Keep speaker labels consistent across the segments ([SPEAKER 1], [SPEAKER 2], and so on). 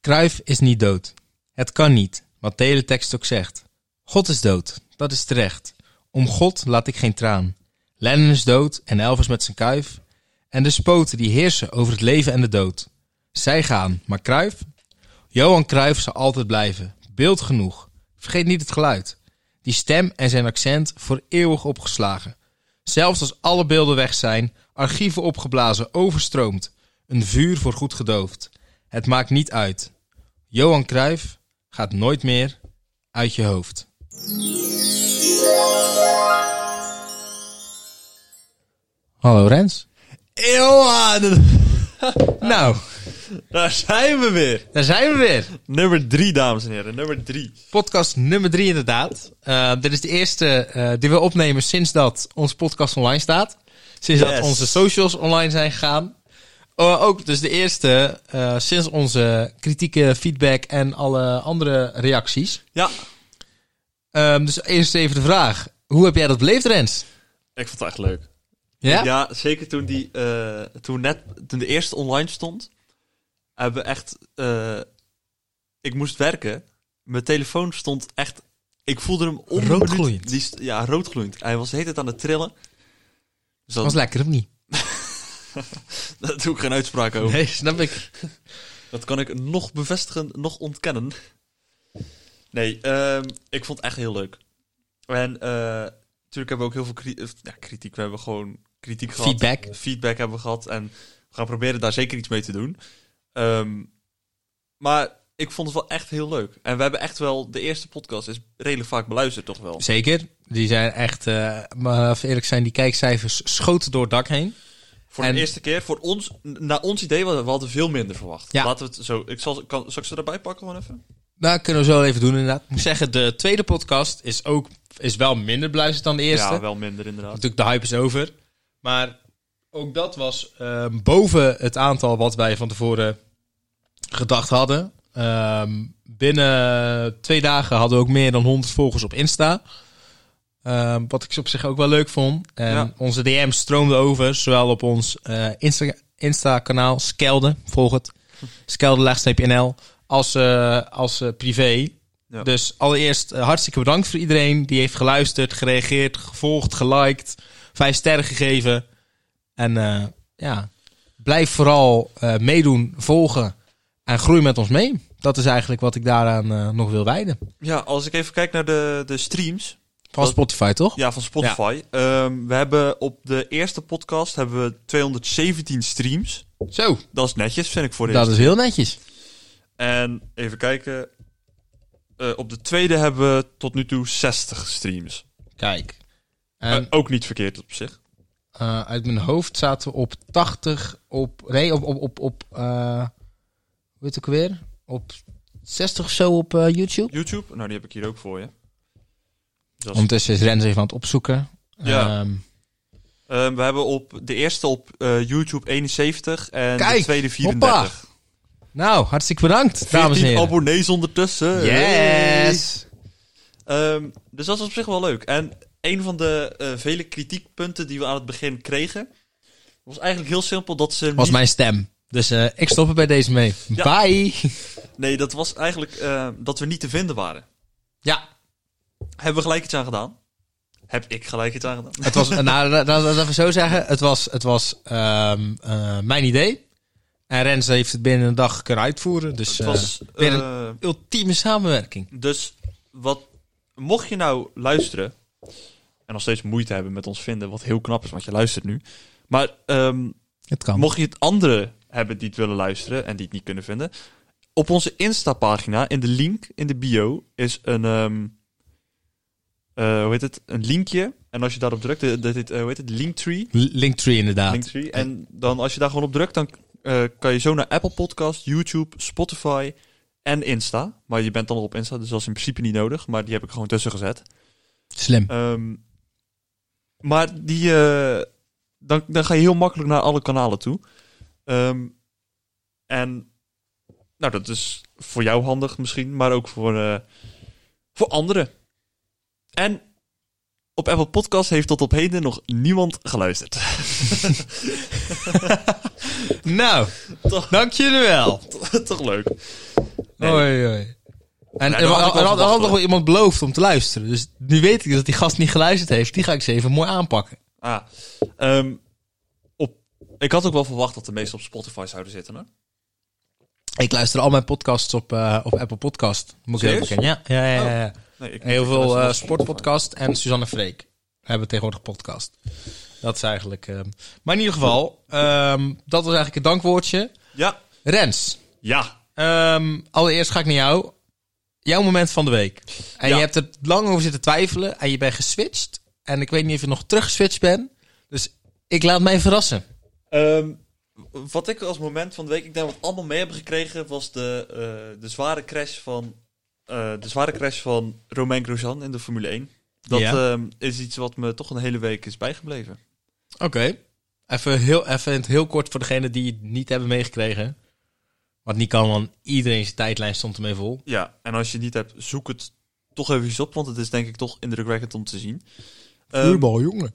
[SPEAKER 1] Kruif is niet dood. Het kan niet, wat de hele tekst ook zegt. God is dood, dat is terecht. Om God laat ik geen traan. Lennon is dood en Elvis met zijn kuif. En de spoten die heersen over het leven en de dood. Zij gaan, maar Kruif? Johan Kruif zal altijd blijven. Beeld genoeg. Vergeet niet het geluid. Die stem en zijn accent voor eeuwig opgeslagen. Zelfs als alle beelden weg zijn, archieven opgeblazen, overstroomd. Een vuur voor goed gedoofd. Het maakt niet uit. Johan Cruijff gaat nooit meer uit je hoofd. Hallo Rens.
[SPEAKER 2] Eeuwen!
[SPEAKER 1] Nou,
[SPEAKER 2] Daar zijn we weer.
[SPEAKER 1] daar zijn we weer.
[SPEAKER 2] Nummer drie, dames en heren. Nummer drie.
[SPEAKER 1] Podcast nummer drie inderdaad. Eh, dit is de eerste eh, die we opnemen sinds dat onze podcast online staat. Sinds dat
[SPEAKER 2] Yes.
[SPEAKER 1] onze socials online zijn gegaan. Eh, ook dus de eerste eh, sinds onze kritieke feedback en alle andere reacties.
[SPEAKER 2] Ja,
[SPEAKER 1] Ehm, dus eerst even de vraag. Hoe heb jij dat beleefd, Rens?
[SPEAKER 2] ik vond het echt leuk.
[SPEAKER 1] Ja?
[SPEAKER 2] Ja, zeker toen, die, eh, toen, net, toen de eerste online stond, hebben we echt... eh, ik moest werken. Mijn telefoon stond echt... Ik voelde hem om een minuut-
[SPEAKER 1] Roodgloeiend.
[SPEAKER 2] Die, st- ja, roodgloeiend. Hij was de hele tijd aan het trillen. Dus dat,
[SPEAKER 1] was lekker of niet?
[SPEAKER 2] daar doe ik geen uitspraak over.
[SPEAKER 1] Nee, snap ik.
[SPEAKER 2] Dat kan ik nog bevestigen, nog ontkennen. Nee, ehm, ik vond het echt heel leuk. En eh, natuurlijk hebben we ook heel veel kri- eh, ja, kritiek. We hebben gewoon kritiek gehad.
[SPEAKER 1] Feedback.
[SPEAKER 2] Feedback hebben we gehad. En we gaan proberen daar zeker iets mee te doen. Ehm, maar ik vond het wel echt heel leuk. En we hebben echt wel... De eerste podcast is redelijk vaak beluisterd, toch wel?
[SPEAKER 1] Zeker. Die zijn echt, eh, maar even eerlijk zijn, die kijkcijfers schoten door het dak heen.
[SPEAKER 2] Voor
[SPEAKER 1] En-
[SPEAKER 2] de eerste keer. Voor ons, naar ons idee, we we hadden veel minder verwacht.
[SPEAKER 1] Ja.
[SPEAKER 2] Laten we het zo... Ik zal, kan, zal ik ze erbij pakken gewoon even?
[SPEAKER 1] Nou, kunnen we zo wel even doen inderdaad. Ik moet zeggen, de tweede podcast is ook is wel minder beluisterd dan de eerste.
[SPEAKER 2] Ja, wel minder inderdaad.
[SPEAKER 1] Natuurlijk, de hype is over. Maar ook dat was ehm, boven het aantal wat wij van tevoren gedacht hadden. Ehm, binnen twee dagen hadden we ook meer dan 100 volgers op Insta. Ehm, wat ik op zich ook wel leuk vond. En
[SPEAKER 2] Ja.
[SPEAKER 1] Onze DM's stroomden over, zowel op ons eh, Insta- Insta-kanaal Skelde, volg het, skelde-nl, als, eh, als eh, privé.
[SPEAKER 2] Ja.
[SPEAKER 1] Dus allereerst eh, hartstikke bedankt voor iedereen die heeft geluisterd, gereageerd, gevolgd, geliked, vijf sterren gegeven. En eh, ja, blijf vooral eh, meedoen, volgen en groei met ons mee. Dat is eigenlijk wat ik daaraan eh, nog wil wijden.
[SPEAKER 2] Ja, als ik even kijk naar de, de streams
[SPEAKER 1] Van
[SPEAKER 2] Wat-
[SPEAKER 1] Spotify, toch?
[SPEAKER 2] ja, van Spotify. Ehm, we hebben op de eerste podcast hebben we 217 streams.
[SPEAKER 1] Zo,
[SPEAKER 2] Dat is netjes, vind ik voor de
[SPEAKER 1] dat
[SPEAKER 2] eerste.
[SPEAKER 1] is heel netjes.
[SPEAKER 2] En even kijken. Eh, op de tweede hebben we tot nu toe 60 streams.
[SPEAKER 1] Kijk. En
[SPEAKER 2] Eh, ook niet verkeerd op zich.
[SPEAKER 1] eh, uit mijn hoofd zaten we op 80, op, nee, op, op, op, op eh, hoe heet het ook weer? Op 60 of zo op eh, YouTube.
[SPEAKER 2] YouTube, nou die heb ik hier ook voor je. Dat is-
[SPEAKER 1] Ondertussen is Rens even aan het opzoeken.
[SPEAKER 2] Ja.
[SPEAKER 1] Ehm,
[SPEAKER 2] Ehm, we hebben op de eerste op eh, YouTube 71 en de
[SPEAKER 1] Kijk,
[SPEAKER 2] tweede 34.
[SPEAKER 1] nou, hartstikke bedankt, dames en
[SPEAKER 2] 14
[SPEAKER 1] heren.
[SPEAKER 2] abonnees ondertussen.
[SPEAKER 1] Yes!
[SPEAKER 2] Ehm, dus dat is op zich wel leuk. En een van de eh, vele kritiekpunten die we aan het begin kregen, was eigenlijk heel simpel dat ze.
[SPEAKER 1] Was
[SPEAKER 2] niet-
[SPEAKER 1] mijn stem. Dus eh, ik stop er bij deze mee.
[SPEAKER 2] Ja.
[SPEAKER 1] Bye!
[SPEAKER 2] Nee, dat was eigenlijk eh, dat we niet te vinden waren.
[SPEAKER 1] Ja,
[SPEAKER 2] Hebben we gelijk iets aan gedaan? Heb ik gelijk iets aan gedaan?
[SPEAKER 1] het was, nou, la- la- laten we zo zeggen, het was, het was ehm, eh, mijn idee. En Rens heeft het binnen een dag kunnen uitvoeren. Dus
[SPEAKER 2] Het
[SPEAKER 1] eh,
[SPEAKER 2] was.
[SPEAKER 1] weer een-
[SPEAKER 2] eh,
[SPEAKER 1] ultieme samenwerking.
[SPEAKER 2] dus wat. Mocht je nou luisteren. en nog steeds moeite hebben met ons vinden, wat heel knap is, want je luistert nu. Maar ehm,
[SPEAKER 1] Het kan.
[SPEAKER 2] Mocht je het andere hebben die het willen luisteren en die het niet kunnen vinden. Op onze Insta-pagina, in de link in de bio, is een, ehm, eh, hoe heet het? een linkje. En als je daarop drukt, eh, dat heet, eh, hoe heet het? Linktree.
[SPEAKER 1] Linktree inderdaad.
[SPEAKER 2] Linktree. En dan als je daar gewoon op drukt, dan eh, kan je zo naar Apple Podcast, YouTube, Spotify en Insta. Maar je bent dan al op Insta, dus dat is in principe niet nodig. Maar die heb ik gewoon tussen gezet.
[SPEAKER 1] Slim.
[SPEAKER 2] Ehm, maar die, eh, dan, dan ga je heel makkelijk naar alle kanalen toe. Ehm, en nou, dat is voor jou handig misschien, maar ook voor, eh, voor anderen. En op Apple Podcast heeft tot op heden nog niemand geluisterd.
[SPEAKER 1] Nou,
[SPEAKER 2] Toch.
[SPEAKER 1] dank jullie wel.
[SPEAKER 2] Toch leuk. Nee.
[SPEAKER 1] Oei, oei. En
[SPEAKER 2] Nou,
[SPEAKER 1] er
[SPEAKER 2] dan had ik
[SPEAKER 1] wa-
[SPEAKER 2] wel
[SPEAKER 1] er had, er had
[SPEAKER 2] verwacht,
[SPEAKER 1] nog wel
[SPEAKER 2] hoor.
[SPEAKER 1] iemand beloofd om te luisteren. Dus nu weet ik dat die gast niet geluisterd heeft. Die ga ik ze even mooi aanpakken.
[SPEAKER 2] Ah, ehm, op, ik had ook wel verwacht dat de meeste op Spotify zouden zitten. Hè?
[SPEAKER 1] Ik luister al mijn podcasts op, eh, op Apple Podcast. Moet ik heel
[SPEAKER 2] Serieus? Oh.
[SPEAKER 1] bekennen. Ja, ja, ja. ja, ja.
[SPEAKER 2] Nee, ik
[SPEAKER 1] Heel
[SPEAKER 2] ik
[SPEAKER 1] veel
[SPEAKER 2] luister
[SPEAKER 1] eh
[SPEAKER 2] op Spotify.
[SPEAKER 1] sportpodcast en Suzanne Freek hebben tegenwoordig een podcast. Dat is eigenlijk... ehm, Maar in ieder geval, ehm, dat was eigenlijk het dankwoordje.
[SPEAKER 2] Ja,
[SPEAKER 1] Rens,
[SPEAKER 2] ja.
[SPEAKER 1] ehm, allereerst ga ik naar jou. Jouw moment van de week. En
[SPEAKER 2] Ja.
[SPEAKER 1] je hebt er lang over zitten twijfelen en je bent geswitcht. En ik weet niet of je nog teruggeswitcht bent. Dus ik laat mij verrassen.
[SPEAKER 2] Ehm, wat ik als moment van de week, ik denk wat allemaal mee hebben gekregen, was de, eh, de zware crash van eh, de zware crash van Romain Grosjean in de Formule 1. Dat
[SPEAKER 1] Ja.
[SPEAKER 2] ehm, is iets wat me toch een hele week is bijgebleven.
[SPEAKER 1] Oké. Even, heel, even in het heel kort voor degenen die het niet hebben meegekregen. Wat niet kan, want iedereen zijn tijdlijn stond ermee vol.
[SPEAKER 2] Ja, en als je het niet hebt, zoek het toch even op, want het is denk ik toch indrukwekkend om te zien. Ehm,
[SPEAKER 1] jongen.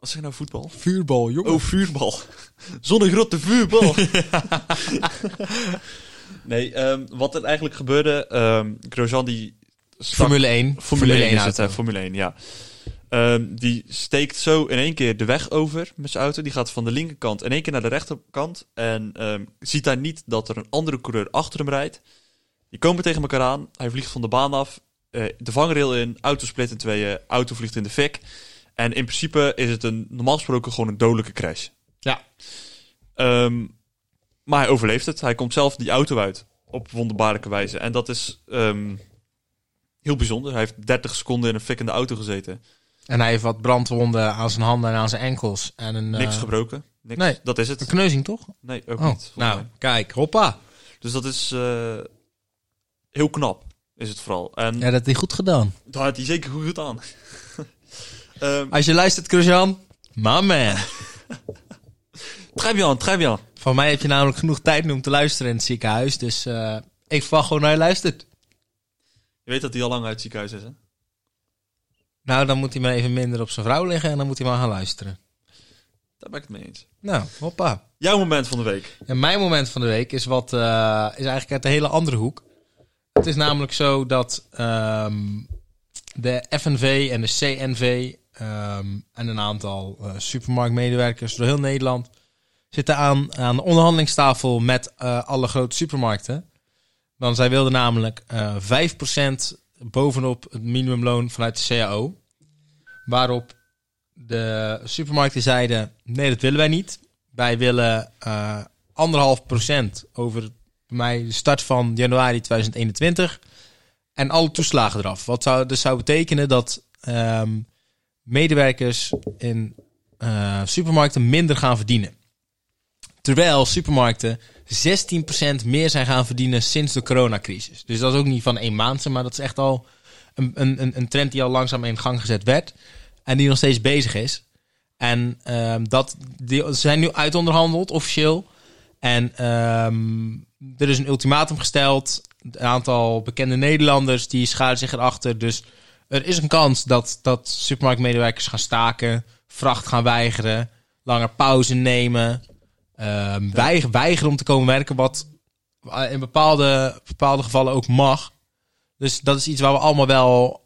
[SPEAKER 2] wat zeg je nou voetbal?
[SPEAKER 1] Vuurbal, jongen.
[SPEAKER 2] Oh, vuurbal. Zonnegrote vuurbal. nee, ehm, wat er eigenlijk gebeurde, ehm Grosjean die stak
[SPEAKER 1] Formule 1. Formule, 1
[SPEAKER 2] is het,
[SPEAKER 1] auto.
[SPEAKER 2] hè, Formule 1, ja. Ehm, die steekt zo in één keer de weg over met zijn auto. Die gaat van de linkerkant in één keer naar de rechterkant. En ehm, ziet daar niet dat er een andere coureur achter hem rijdt. Die komen tegen elkaar aan. Hij vliegt van de baan af. eh, de vangrail in. Auto split in tweeën. Auto vliegt in de fik. En in principe is het een, normaal gesproken gewoon een dodelijke crash.
[SPEAKER 1] Ja.
[SPEAKER 2] Ehm, maar hij overleeft het. Hij komt zelf die auto uit. Op wonderbaarlijke wijze. En dat is ehm, heel bijzonder. Hij heeft 30 seconden in een fikkende auto gezeten.
[SPEAKER 1] En hij heeft wat brandwonden aan zijn handen en aan zijn enkels. En een, eh,
[SPEAKER 2] Niks gebroken. Niks.
[SPEAKER 1] nee.
[SPEAKER 2] Dat is
[SPEAKER 1] een
[SPEAKER 2] het.
[SPEAKER 1] kneuzing, toch?
[SPEAKER 2] Nee, ook
[SPEAKER 1] Oh,
[SPEAKER 2] niet. volgens
[SPEAKER 1] nou,
[SPEAKER 2] mij.
[SPEAKER 1] kijk, hoppa.
[SPEAKER 2] Dus dat is eh, heel knap. Is het vooral. En
[SPEAKER 1] Ja, dat heeft hij goed gedaan.
[SPEAKER 2] daar had hij zeker goed gedaan. Ehm
[SPEAKER 1] Als je luistert, Crujan, my man.
[SPEAKER 2] très bien, très bien.
[SPEAKER 1] Van mij heb je namelijk genoeg tijd om te luisteren in het ziekenhuis. Dus eh, ik verwacht gewoon dat je luistert.
[SPEAKER 2] Je weet dat hij al lang uit het ziekenhuis is, hè?
[SPEAKER 1] Nou, dan moet hij maar even minder op zijn vrouw liggen en dan moet hij maar gaan luisteren.
[SPEAKER 2] Daar ben ik het mee eens.
[SPEAKER 1] Nou, hoppa.
[SPEAKER 2] Jouw moment van de week.
[SPEAKER 1] En mijn moment van de week is, wat, eh, is eigenlijk uit een hele andere hoek. Het is namelijk zo dat ehm, de FNV en de CNV ehm, en een aantal eh, supermarktmedewerkers door heel Nederland zitten aan, aan de onderhandelingstafel met eh, alle grote supermarkten. Want zij wilden namelijk eh 5% bovenop het minimumloon vanuit de CAO. Waarop de supermarkten zeiden: nee, dat willen wij niet. Wij willen eh, anderhalf procent over bij mij de start van januari 2021 en alle toeslagen eraf. Wat zou dus zou betekenen dat ehm, medewerkers in eh, supermarkten minder gaan verdienen. Terwijl supermarkten 16% meer zijn gaan verdienen sinds de coronacrisis. Dus dat is ook niet van één maand, zeg maar dat is echt al een, een, een- een trend die al langzaam in gang gezet werd. En die nog steeds bezig is. En ehm, dat, die ze zijn nu uitonderhandeld, officieel. En ehm, er is een ultimatum gesteld. Een aantal bekende Nederlanders die scharen zich erachter. Dus er is een kans dat, dat supermarktmedewerkers gaan staken, vracht gaan weigeren, langer pauze nemen, ehm, weig- weigeren om te komen werken, wat eh, in bepaalde, bepaalde gevallen ook mag. Dus dat is iets waar we allemaal wel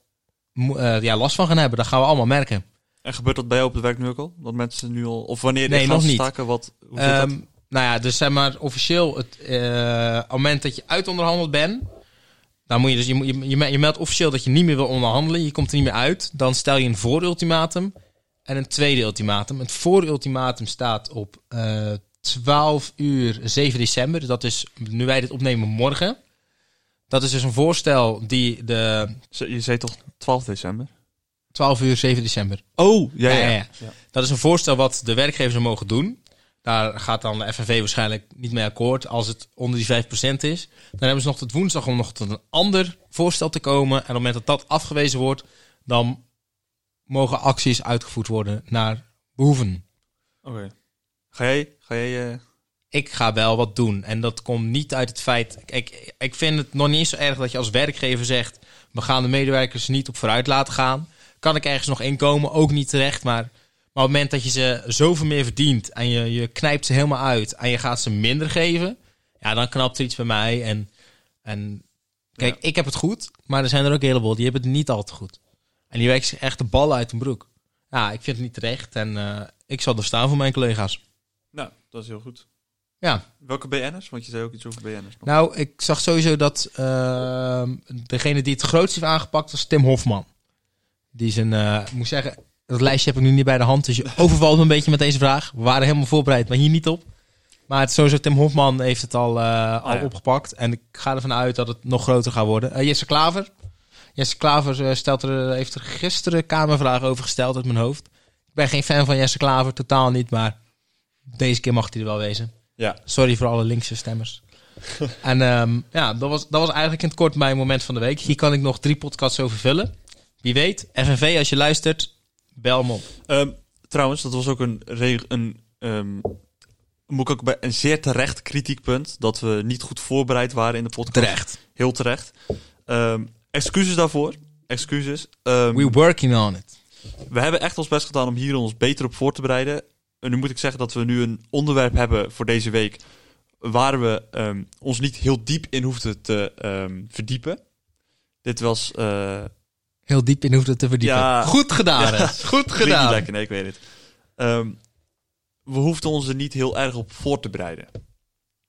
[SPEAKER 1] mo- eh, ja, last van gaan hebben. Dat gaan we allemaal merken.
[SPEAKER 2] En gebeurt dat bij jou op het werk nu ook al? Dat mensen nu al... Of wanneer die
[SPEAKER 1] Nee,
[SPEAKER 2] gaan
[SPEAKER 1] nog niet.
[SPEAKER 2] staken? Wat, hoe zit dat?
[SPEAKER 1] Ehm, Nou ja, dus zeg maar officieel, het eh, op het moment dat je uitonderhandeld bent, dan moet je dus, je, moet- je, je me- je meldt officieel dat je niet meer wil onderhandelen, je komt er niet meer uit, dan stel je een voorultimatum en een tweede ultimatum. Het voorultimatum staat op eh 12 uur 7 december, dus dat is, nu wij dit opnemen, morgen. Dat is dus een voorstel die de
[SPEAKER 2] Ze- Je zei toch 12 december?
[SPEAKER 1] 12 uur 7 december.
[SPEAKER 2] Oh, ja, ja.
[SPEAKER 1] Ja,
[SPEAKER 2] ja,
[SPEAKER 1] ja, ja. Dat is een voorstel wat de werkgevers mogen doen. Daar gaat dan de FNV waarschijnlijk niet mee akkoord als het onder die 5% is. Dan hebben ze nog tot woensdag om nog tot een ander voorstel te komen. En op het moment dat dat afgewezen wordt, dan mogen acties uitgevoerd worden naar behoeven.
[SPEAKER 2] Oké. Ga jij... Ga jij eh,
[SPEAKER 1] Ik ga wel wat doen. En dat komt niet uit het feit. Ik, ik vind het nog niet eens zo erg dat je als werkgever zegt. We gaan de medewerkers niet op vooruit laten gaan. Kan ik ergens nog inkomen? Ook niet terecht. Maar Maar op het moment dat je ze zoveel meer verdient en je, je knijpt ze helemaal uit en je gaat ze minder geven, ja, dan knapt er iets bij mij. En En kijk, ik heb het goed, maar er zijn er ook een heleboel die hebben het niet al te goed. En die werken zich echt de ballen uit hun broek. Ja, ik vind het niet terecht en eh, ik zal er staan voor mijn collega's.
[SPEAKER 2] Nou, dat is heel goed.
[SPEAKER 1] Ja,
[SPEAKER 2] Welke BN'ers? Want je zei ook iets over BN'ers. nog.
[SPEAKER 1] nou, ik zag sowieso dat ehm, degene die het grootst heeft aangepakt was Tim Hofman. Die zijn, eh, ik moet zeggen, dat lijstje heb ik nu niet bij de hand, dus je overvalt me een beetje met deze vraag. We waren helemaal voorbereid, maar hier niet op. Maar het, is sowieso Tim Hofman heeft het al, eh, al
[SPEAKER 2] ja.
[SPEAKER 1] opgepakt en ik ga ervan uit dat het nog groter gaat worden. Eh, Jesse Klaver. Jesse Klaver eh, stelt er, heeft er gisteren kamervragen over gesteld uit mijn hoofd. Ik ben geen fan van Jesse Klaver, totaal niet, maar deze keer mag hij er wel wezen.
[SPEAKER 2] Ja.
[SPEAKER 1] Sorry voor alle linkse stemmers. en ehm, ja, dat was, dat was eigenlijk in het kort mijn moment van de week. Hier kan ik nog drie podcasts over vullen. Wie weet, FNV, als je luistert, bel me op.
[SPEAKER 2] Ehm, trouwens, dat was ook een, reg- een ehm, moet ik ook bij een zeer terecht kritiekpunt dat we niet goed voorbereid waren in de podcast.
[SPEAKER 1] Terecht.
[SPEAKER 2] Heel terecht. Ehm, excuses daarvoor. Excuses. Ehm,
[SPEAKER 1] We working on it.
[SPEAKER 2] We hebben echt ons best gedaan om hier ons beter op voor te bereiden. En nu moet ik zeggen dat we nu een onderwerp hebben voor deze week. Waar we ehm, ons niet heel diep in hoefden te ehm, verdiepen. Dit was. eh,
[SPEAKER 1] Heel diep in hoeft het te verdiepen.
[SPEAKER 2] Ja.
[SPEAKER 1] Goed gedaan, hè. Goed
[SPEAKER 2] klinkt niet
[SPEAKER 1] gedaan.
[SPEAKER 2] lekker, nee, ik weet het. Ehm, we hoefden ons er niet heel erg op voor te bereiden.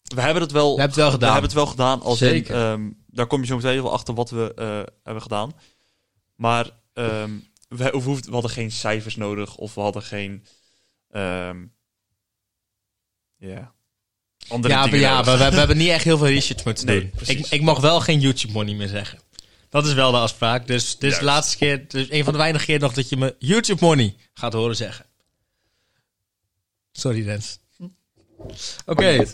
[SPEAKER 2] We hebben het wel,
[SPEAKER 1] We hebben het wel gedaan.
[SPEAKER 2] hebben het wel gedaan. Als in,
[SPEAKER 1] Zeker.
[SPEAKER 2] ehm, daar kom je zo meteen wel achter wat we eh, hebben gedaan. Maar ehm, we, we hoefden- we hadden geen cijfers nodig. Of we hadden geen... ehm, ja. Andere
[SPEAKER 1] Ja, maar,
[SPEAKER 2] dingen
[SPEAKER 1] ja
[SPEAKER 2] nodig.
[SPEAKER 1] maar we, we hebben niet echt heel veel research moeten
[SPEAKER 2] Nee,
[SPEAKER 1] doen. Ik,
[SPEAKER 2] precies.
[SPEAKER 1] ik mag wel geen YouTube money meer zeggen. Dat is wel de afspraak. Dus dit is de
[SPEAKER 2] Juist.
[SPEAKER 1] laatste keer, dus een van de weinige keer nog dat je me YouTube money gaat horen zeggen. Sorry, Rens. Oké.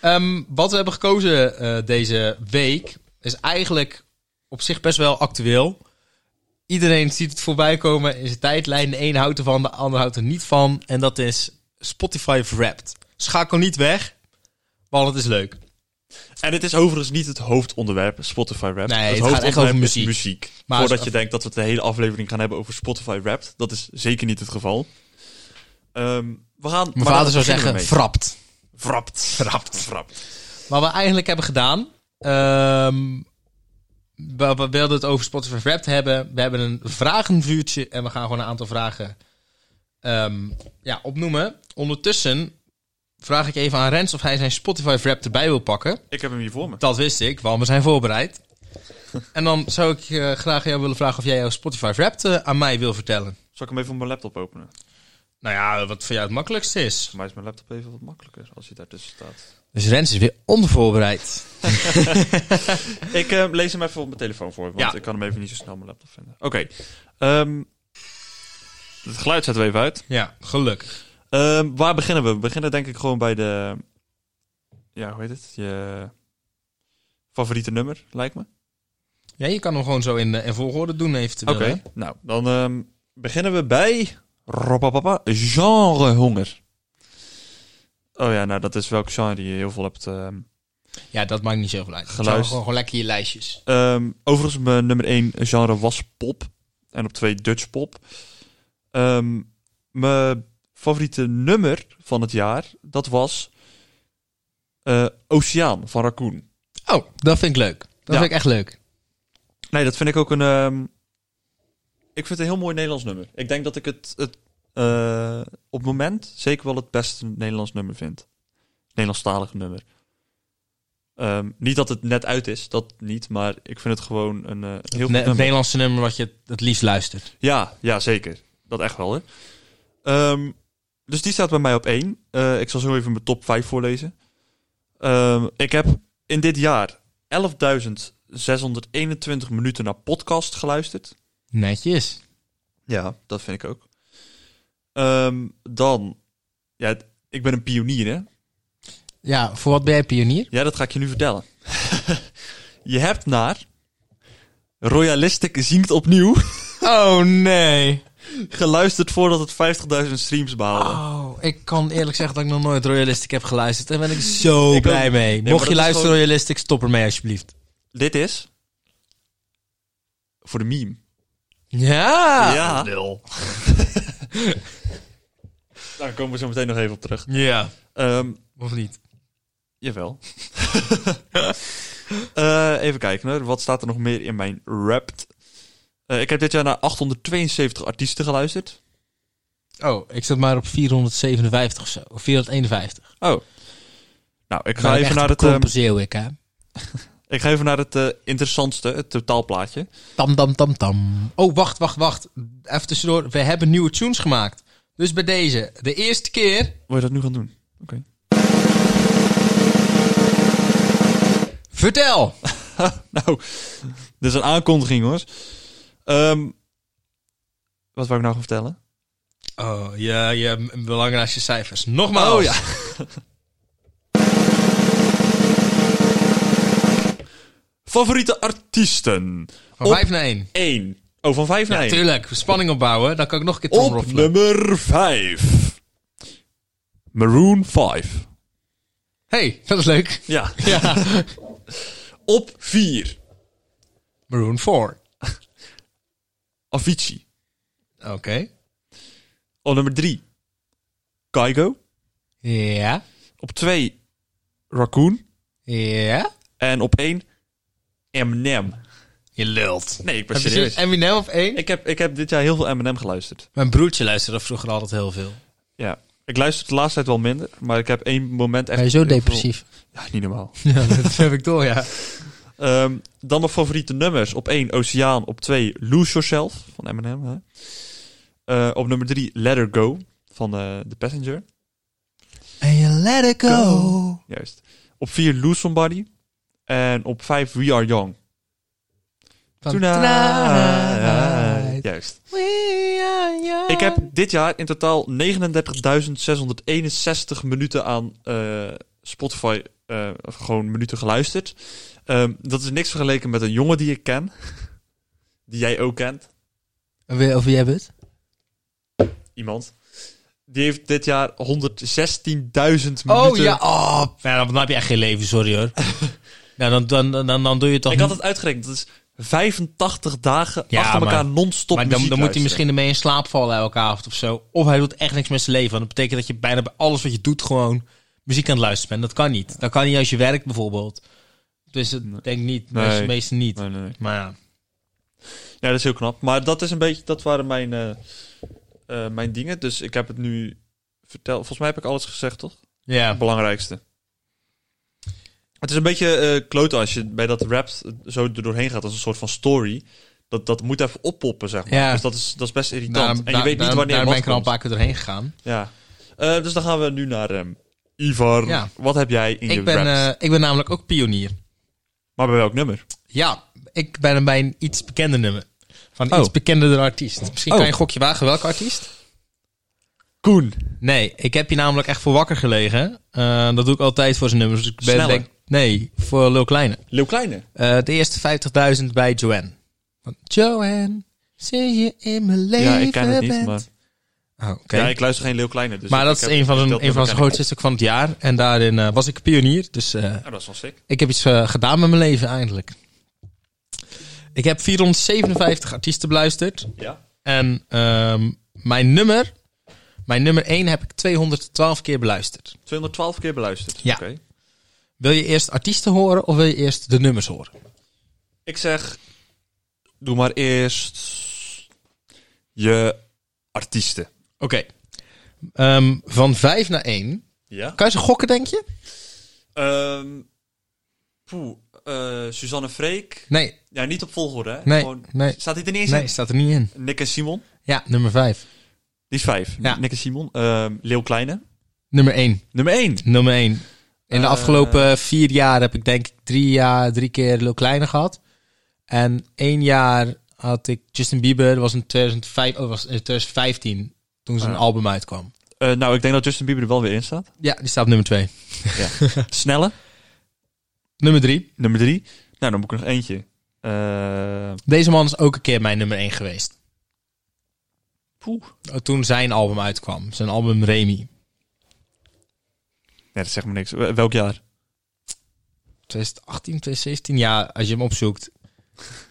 [SPEAKER 1] Ehm, wat we hebben gekozen eh, deze week is eigenlijk op zich best wel actueel. Iedereen ziet het voorbij komen in zijn tijdlijn. De een houdt ervan, de ander houdt er niet van. En dat is Spotify Wrapped. Schakel niet weg, want het is leuk.
[SPEAKER 2] En het is overigens niet het hoofdonderwerp, Spotify Rap.
[SPEAKER 1] Nee, het
[SPEAKER 2] het
[SPEAKER 1] gaat echt
[SPEAKER 2] hoofdonderwerp
[SPEAKER 1] over
[SPEAKER 2] is
[SPEAKER 1] muziek. Maar
[SPEAKER 2] Voordat
[SPEAKER 1] als-
[SPEAKER 2] je denkt dat we het de hele aflevering gaan hebben over Spotify Rap, dat is zeker niet het geval. Ehm, we gaan.
[SPEAKER 1] Mijn
[SPEAKER 2] maar
[SPEAKER 1] vader
[SPEAKER 2] daar
[SPEAKER 1] zou zeggen,
[SPEAKER 2] beginnen
[SPEAKER 1] frapt.
[SPEAKER 2] we mee. Wrapt. Wrapt. Wrapt.
[SPEAKER 1] Wat we eigenlijk hebben gedaan... ehm, we, we wilden het over Spotify Wrapped hebben. We hebben een vragenvuurtje en we gaan gewoon een aantal vragen ehm, ja, opnoemen. Ondertussen vraag ik even aan Rens of hij zijn Spotify Wrapped erbij wil pakken.
[SPEAKER 2] Ik heb hem hier voor me.
[SPEAKER 1] Dat wist ik, want we zijn voorbereid. En dan zou ik eh, graag aan jou willen vragen of jij jouw Spotify Wrapped eh, aan mij wil vertellen.
[SPEAKER 2] Zal ik hem even op mijn laptop openen?
[SPEAKER 1] Nou ja, wat voor jou het makkelijkste is.
[SPEAKER 2] Voor mij is mijn laptop even wat makkelijker als hij daartussen staat.
[SPEAKER 1] Dus Rens is weer onvoorbereid.
[SPEAKER 2] Ik eh, lees hem even op mijn telefoon voor, want
[SPEAKER 1] Ja.
[SPEAKER 2] ik kan hem even niet zo snel op mijn laptop vinden. Oké. Ehm, het geluid zetten we even uit.
[SPEAKER 1] Ja, gelukkig.
[SPEAKER 2] Ehm, waar beginnen we? We beginnen denk ik gewoon bij de... Ja, hoe heet het? Je favoriete nummer, lijkt me.
[SPEAKER 1] Ja, je kan hem gewoon zo in, eh, in volgorde doen eventueel.
[SPEAKER 2] Oké,
[SPEAKER 1] hè?
[SPEAKER 2] nou, dan ehm, beginnen we bij... Ropapapa, genrehonger. Oh ja, nou, dat is welk genre je heel veel hebt. ehm.
[SPEAKER 1] Ja, dat maakt niet zoveel uit. Zo,
[SPEAKER 2] Geluisterd.
[SPEAKER 1] Gewoon, gewoon lekker je lijstjes.
[SPEAKER 2] Ehm, overigens, mijn nummer 1 genre was pop. En op 2 Dutch pop. Ehm, mijn favoriete nummer van het jaar, dat was... eh, Oceaan van Raccoon.
[SPEAKER 1] Oh, dat vind ik leuk. Dat
[SPEAKER 2] Ja.
[SPEAKER 1] vind ik echt leuk.
[SPEAKER 2] Nee, dat vind ik ook een. ehm, ik vind het een heel mooi Nederlands nummer. Ik denk dat ik het, het eh, op het moment zeker wel het beste Nederlands nummer vind. Nederlandstalig nummer. Ehm, niet dat het net uit is, dat niet, maar ik vind het gewoon een eh,
[SPEAKER 1] Ne-
[SPEAKER 2] heel goed
[SPEAKER 1] het
[SPEAKER 2] nummer.
[SPEAKER 1] Nederlandse nummer wat je het liefst luistert.
[SPEAKER 2] Ja, ja, zeker. Dat echt wel, hè. Ehm, dus die staat bij mij op één. Eh, ik zal zo even mijn top 5 voorlezen. Ehm, ik heb in dit jaar 11.621 minuten naar podcast geluisterd.
[SPEAKER 1] Netjes.
[SPEAKER 2] Ja, dat vind ik ook. Ehm, dan, ja, het- ik ben een pionier, hè?
[SPEAKER 1] Ja, voor wat ben jij pionier?
[SPEAKER 2] Ja, dat ga ik je nu vertellen. je hebt naar Royalistic zingt opnieuw
[SPEAKER 1] Oh nee.
[SPEAKER 2] geluisterd voordat het 50.000 streams behaalde.
[SPEAKER 1] Oh, ik kan eerlijk zeggen dat ik nog nooit Royalistic heb geluisterd. Daar ben ik zo
[SPEAKER 2] Ik
[SPEAKER 1] blij
[SPEAKER 2] ook.
[SPEAKER 1] mee.
[SPEAKER 2] maar
[SPEAKER 1] Mocht
[SPEAKER 2] dat
[SPEAKER 1] je
[SPEAKER 2] is
[SPEAKER 1] luisteren
[SPEAKER 2] gewoon-
[SPEAKER 1] Royalistic, stop ermee alsjeblieft.
[SPEAKER 2] Dit is voor de meme.
[SPEAKER 1] Ja.
[SPEAKER 2] ja. Daar Nou, komen we zo meteen nog even op terug.
[SPEAKER 1] Ja.
[SPEAKER 2] Ehm,
[SPEAKER 1] Of niet?
[SPEAKER 2] jawel. Eh, even kijken, hè. wat staat er nog meer in mijn Wrapped? Eh, ik heb dit jaar naar 872 artiesten geluisterd.
[SPEAKER 1] Oh, ik zat maar op 457 of zo. Of 451.
[SPEAKER 2] Oh. Nou, ik
[SPEAKER 1] Ik
[SPEAKER 2] ga, even naar het, ehm,
[SPEAKER 1] compenseer ik, hè.
[SPEAKER 2] ik ga even naar het eh, interessantste, het totaalplaatje.
[SPEAKER 1] Tam, tam, tam, tam. Oh, wacht, wacht, wacht. Even tussendoor. We hebben nieuwe tunes gemaakt. Dus bij deze, de eerste keer
[SPEAKER 2] Wil je dat nu gaan doen? Oké.
[SPEAKER 1] Vertel!
[SPEAKER 2] Nou, dit is een aankondiging, hoor. Ehm, wat wou ik nou gaan vertellen?
[SPEAKER 1] Oh, je, je belangrijkste cijfers. Nogmaals.
[SPEAKER 2] Oh, ja. Favoriete artiesten.
[SPEAKER 1] Van
[SPEAKER 2] Op-
[SPEAKER 1] 5 naar 1.
[SPEAKER 2] 1. Oh, van 5 naar 1.
[SPEAKER 1] Natuurlijk, spanning opbouwen. Dan kan ik nog een keer
[SPEAKER 2] Op
[SPEAKER 1] tromroffelen.
[SPEAKER 2] nummer 5. Maroon 5.
[SPEAKER 1] hey, dat is leuk.
[SPEAKER 2] Ja.
[SPEAKER 1] Ja.
[SPEAKER 2] Op 4.
[SPEAKER 1] Maroon 4.
[SPEAKER 2] Avicii.
[SPEAKER 1] Oké.
[SPEAKER 2] Op nummer 3. Kaigo.
[SPEAKER 1] Ja.
[SPEAKER 2] Op 2. Raccoon.
[SPEAKER 1] Ja.
[SPEAKER 2] En op 1. Eminem.
[SPEAKER 1] Je lult.
[SPEAKER 2] Nee, ik ben
[SPEAKER 1] Heb je
[SPEAKER 2] serieus.
[SPEAKER 1] zin- Eminem op 1?
[SPEAKER 2] Ik heb, ik heb dit jaar heel veel Eminem geluisterd.
[SPEAKER 1] Mijn broertje luisterde vroeger altijd heel veel.
[SPEAKER 2] Ja. Ik luister de laatste tijd wel minder, maar ik heb één moment echt...
[SPEAKER 1] Ben je zo
[SPEAKER 2] heel veel-
[SPEAKER 1] depressief?
[SPEAKER 2] Ja, niet normaal.
[SPEAKER 1] Ja, dat heb ik door, ja.
[SPEAKER 2] Ehm, dan mijn favoriete nummers. Op 1, Oceaan. Op 2, Lose Yourself van Eminem. Hè? Eh, op nummer 3, Let Her Go van eh, The Passenger.
[SPEAKER 1] En je let it go.
[SPEAKER 2] Juist. Op 4, Lose Somebody. En op 5, We Are Young.
[SPEAKER 1] Van
[SPEAKER 2] Tonight.
[SPEAKER 1] tonight.
[SPEAKER 2] Juist.
[SPEAKER 1] We are young.
[SPEAKER 2] Ik heb dit jaar in totaal 39.661 minuten aan eh, Spotify eh, of gewoon minuten geluisterd. Ehm, dat is niks vergeleken met een jongen die ik ken. Die jij ook kent.
[SPEAKER 1] En wie- Over wie hebben we het?
[SPEAKER 2] Iemand. Die heeft dit jaar 116.000 minuten...
[SPEAKER 1] Oh ja, oh. Ja, dan heb je echt geen leven, sorry hoor. nou, dan, dan, dan, dan, dan doe je het toch
[SPEAKER 2] Ik had
[SPEAKER 1] niet-
[SPEAKER 2] het uitgerekend. Dat is 85 dagen
[SPEAKER 1] Ja,
[SPEAKER 2] achter elkaar
[SPEAKER 1] maar-
[SPEAKER 2] non-stop
[SPEAKER 1] Maar dan,
[SPEAKER 2] muziek
[SPEAKER 1] dan moet hij
[SPEAKER 2] luisteren.
[SPEAKER 1] misschien ermee in slaap vallen elke avond of zo. Of hij doet echt niks met zijn leven. Want dat betekent dat je bijna bij alles wat je doet gewoon muziek aan het luisteren bent. Dat kan niet. Dat kan niet als je werkt bijvoorbeeld. Dus dat
[SPEAKER 2] Nee.
[SPEAKER 1] denk ik niet. De
[SPEAKER 2] Nee.
[SPEAKER 1] meeste meesten niet.
[SPEAKER 2] Nee, nee, nee.
[SPEAKER 1] Maar ja.
[SPEAKER 2] Ja, dat is heel knap. Maar dat is een beetje, dat waren mijn, eh, eh, mijn dingen. Dus ik heb het nu verteld. Volgens mij heb ik alles gezegd, toch?
[SPEAKER 1] Ja.
[SPEAKER 2] Het belangrijkste. Het is een beetje eh kloten als je bij dat rap zo er doorheen gaat als een soort van story. Dat, dat moet even oppoppen, zeg maar.
[SPEAKER 1] Ja.
[SPEAKER 2] Dus dat is, dat is best irritant.
[SPEAKER 1] Daarom-
[SPEAKER 2] en je
[SPEAKER 1] daar-
[SPEAKER 2] weet niet
[SPEAKER 1] daar-
[SPEAKER 2] wanneer
[SPEAKER 1] Daar ben
[SPEAKER 2] wat
[SPEAKER 1] ik er al een
[SPEAKER 2] komt.
[SPEAKER 1] paar keer doorheen gegaan.
[SPEAKER 2] Ja. Eh, dus dan gaan we nu naar ehm, Ivar.
[SPEAKER 1] Ja.
[SPEAKER 2] Wat heb jij in je
[SPEAKER 1] Ik ben,
[SPEAKER 2] raps?
[SPEAKER 1] eh, ik ben namelijk ook pionier.
[SPEAKER 2] maar bij welk nummer?
[SPEAKER 1] Ja, ik ben bij een iets bekender nummer. Van een
[SPEAKER 2] Oh.
[SPEAKER 1] iets bekenderdere artiest. Misschien
[SPEAKER 2] Oh.
[SPEAKER 1] kan je een gokje wagen welke artiest?
[SPEAKER 2] Koen.
[SPEAKER 1] Nee, ik heb hier namelijk echt voor wakker gelegen. Eh, dat doe ik altijd voor zijn nummers. Dus ik ben,
[SPEAKER 2] Sneller.
[SPEAKER 1] denk, nee, voor Lil Kleine.
[SPEAKER 2] Leeuw Kleine.
[SPEAKER 1] Eh, de eerste 50.000 bij Joanne. Van, Joanne, zie je in mijn leven
[SPEAKER 2] Ja, ik ken het niet,
[SPEAKER 1] bent."
[SPEAKER 2] maar...
[SPEAKER 1] Oh, oké.
[SPEAKER 2] Ja, ik luister geen Leeuw Kleine. Dus
[SPEAKER 1] maar
[SPEAKER 2] ik-
[SPEAKER 1] dat
[SPEAKER 2] ik
[SPEAKER 1] is
[SPEAKER 2] heb-
[SPEAKER 1] een van,
[SPEAKER 2] dat
[SPEAKER 1] zijn,
[SPEAKER 2] nummer
[SPEAKER 1] een van
[SPEAKER 2] ken
[SPEAKER 1] zijn
[SPEAKER 2] ik.
[SPEAKER 1] grootste stukken van het jaar. En daarin eh, was ik pionier. Dus eh,
[SPEAKER 2] Nou, dat is wel sick.
[SPEAKER 1] ik heb iets eh, gedaan met mijn leven eindelijk. Ik heb 457 artiesten beluisterd.
[SPEAKER 2] Ja.
[SPEAKER 1] En ehm, mijn nummer, mijn nummer 1 heb ik 212 keer beluisterd.
[SPEAKER 2] 212 keer beluisterd.
[SPEAKER 1] Ja.
[SPEAKER 2] Oké.
[SPEAKER 1] Wil je eerst artiesten horen of wil je eerst de nummers horen?
[SPEAKER 2] Ik zeg, doe maar eerst je artiesten.
[SPEAKER 1] Oké. Ehm, van 5 naar 1.
[SPEAKER 2] Ja.
[SPEAKER 1] Kan je ze gokken, denk je?
[SPEAKER 2] Ehm, poeh, eh, Suzanne Freek.
[SPEAKER 1] Nee,
[SPEAKER 2] Ja, niet op volgorde, hè?
[SPEAKER 1] nee,
[SPEAKER 2] Gewoon-
[SPEAKER 1] nee.
[SPEAKER 2] Staat hij er niet eens
[SPEAKER 1] Nee,
[SPEAKER 2] in?
[SPEAKER 1] staat er niet in.
[SPEAKER 2] Nick en Simon.
[SPEAKER 1] Ja, nummer 5.
[SPEAKER 2] Die is vijf.
[SPEAKER 1] Ja.
[SPEAKER 2] Nick en Simon. Ehm Leeuw Kleine.
[SPEAKER 1] Nummer 1.
[SPEAKER 2] Nummer één.
[SPEAKER 1] Nummer 1. In de
[SPEAKER 2] Eh.
[SPEAKER 1] afgelopen vier jaar heb ik denk ik drie, jaar, drie keer Lil Kleine gehad. En één jaar had ik Justin Bieber. Dat was in 2005, oh, was in 2015, toen zijn
[SPEAKER 2] Ah.
[SPEAKER 1] album uitkwam.
[SPEAKER 2] Eh, nou, ik denk dat Justin Bieber er wel weer in staat.
[SPEAKER 1] Ja, die staat op nummer 2.
[SPEAKER 2] Snelle.
[SPEAKER 1] Nummer 3.
[SPEAKER 2] Nummer drie. Nou, dan moet ik nog eentje. Eh,
[SPEAKER 1] Deze man is ook een keer mijn nummer 1 geweest. Oh,
[SPEAKER 2] poeh.
[SPEAKER 1] Toen zijn album uitkwam. Zijn album Remy.
[SPEAKER 2] Nee, dat zegt me niks. Wel- Welk jaar?
[SPEAKER 1] 2018, 2017? Ja, als je hem opzoekt.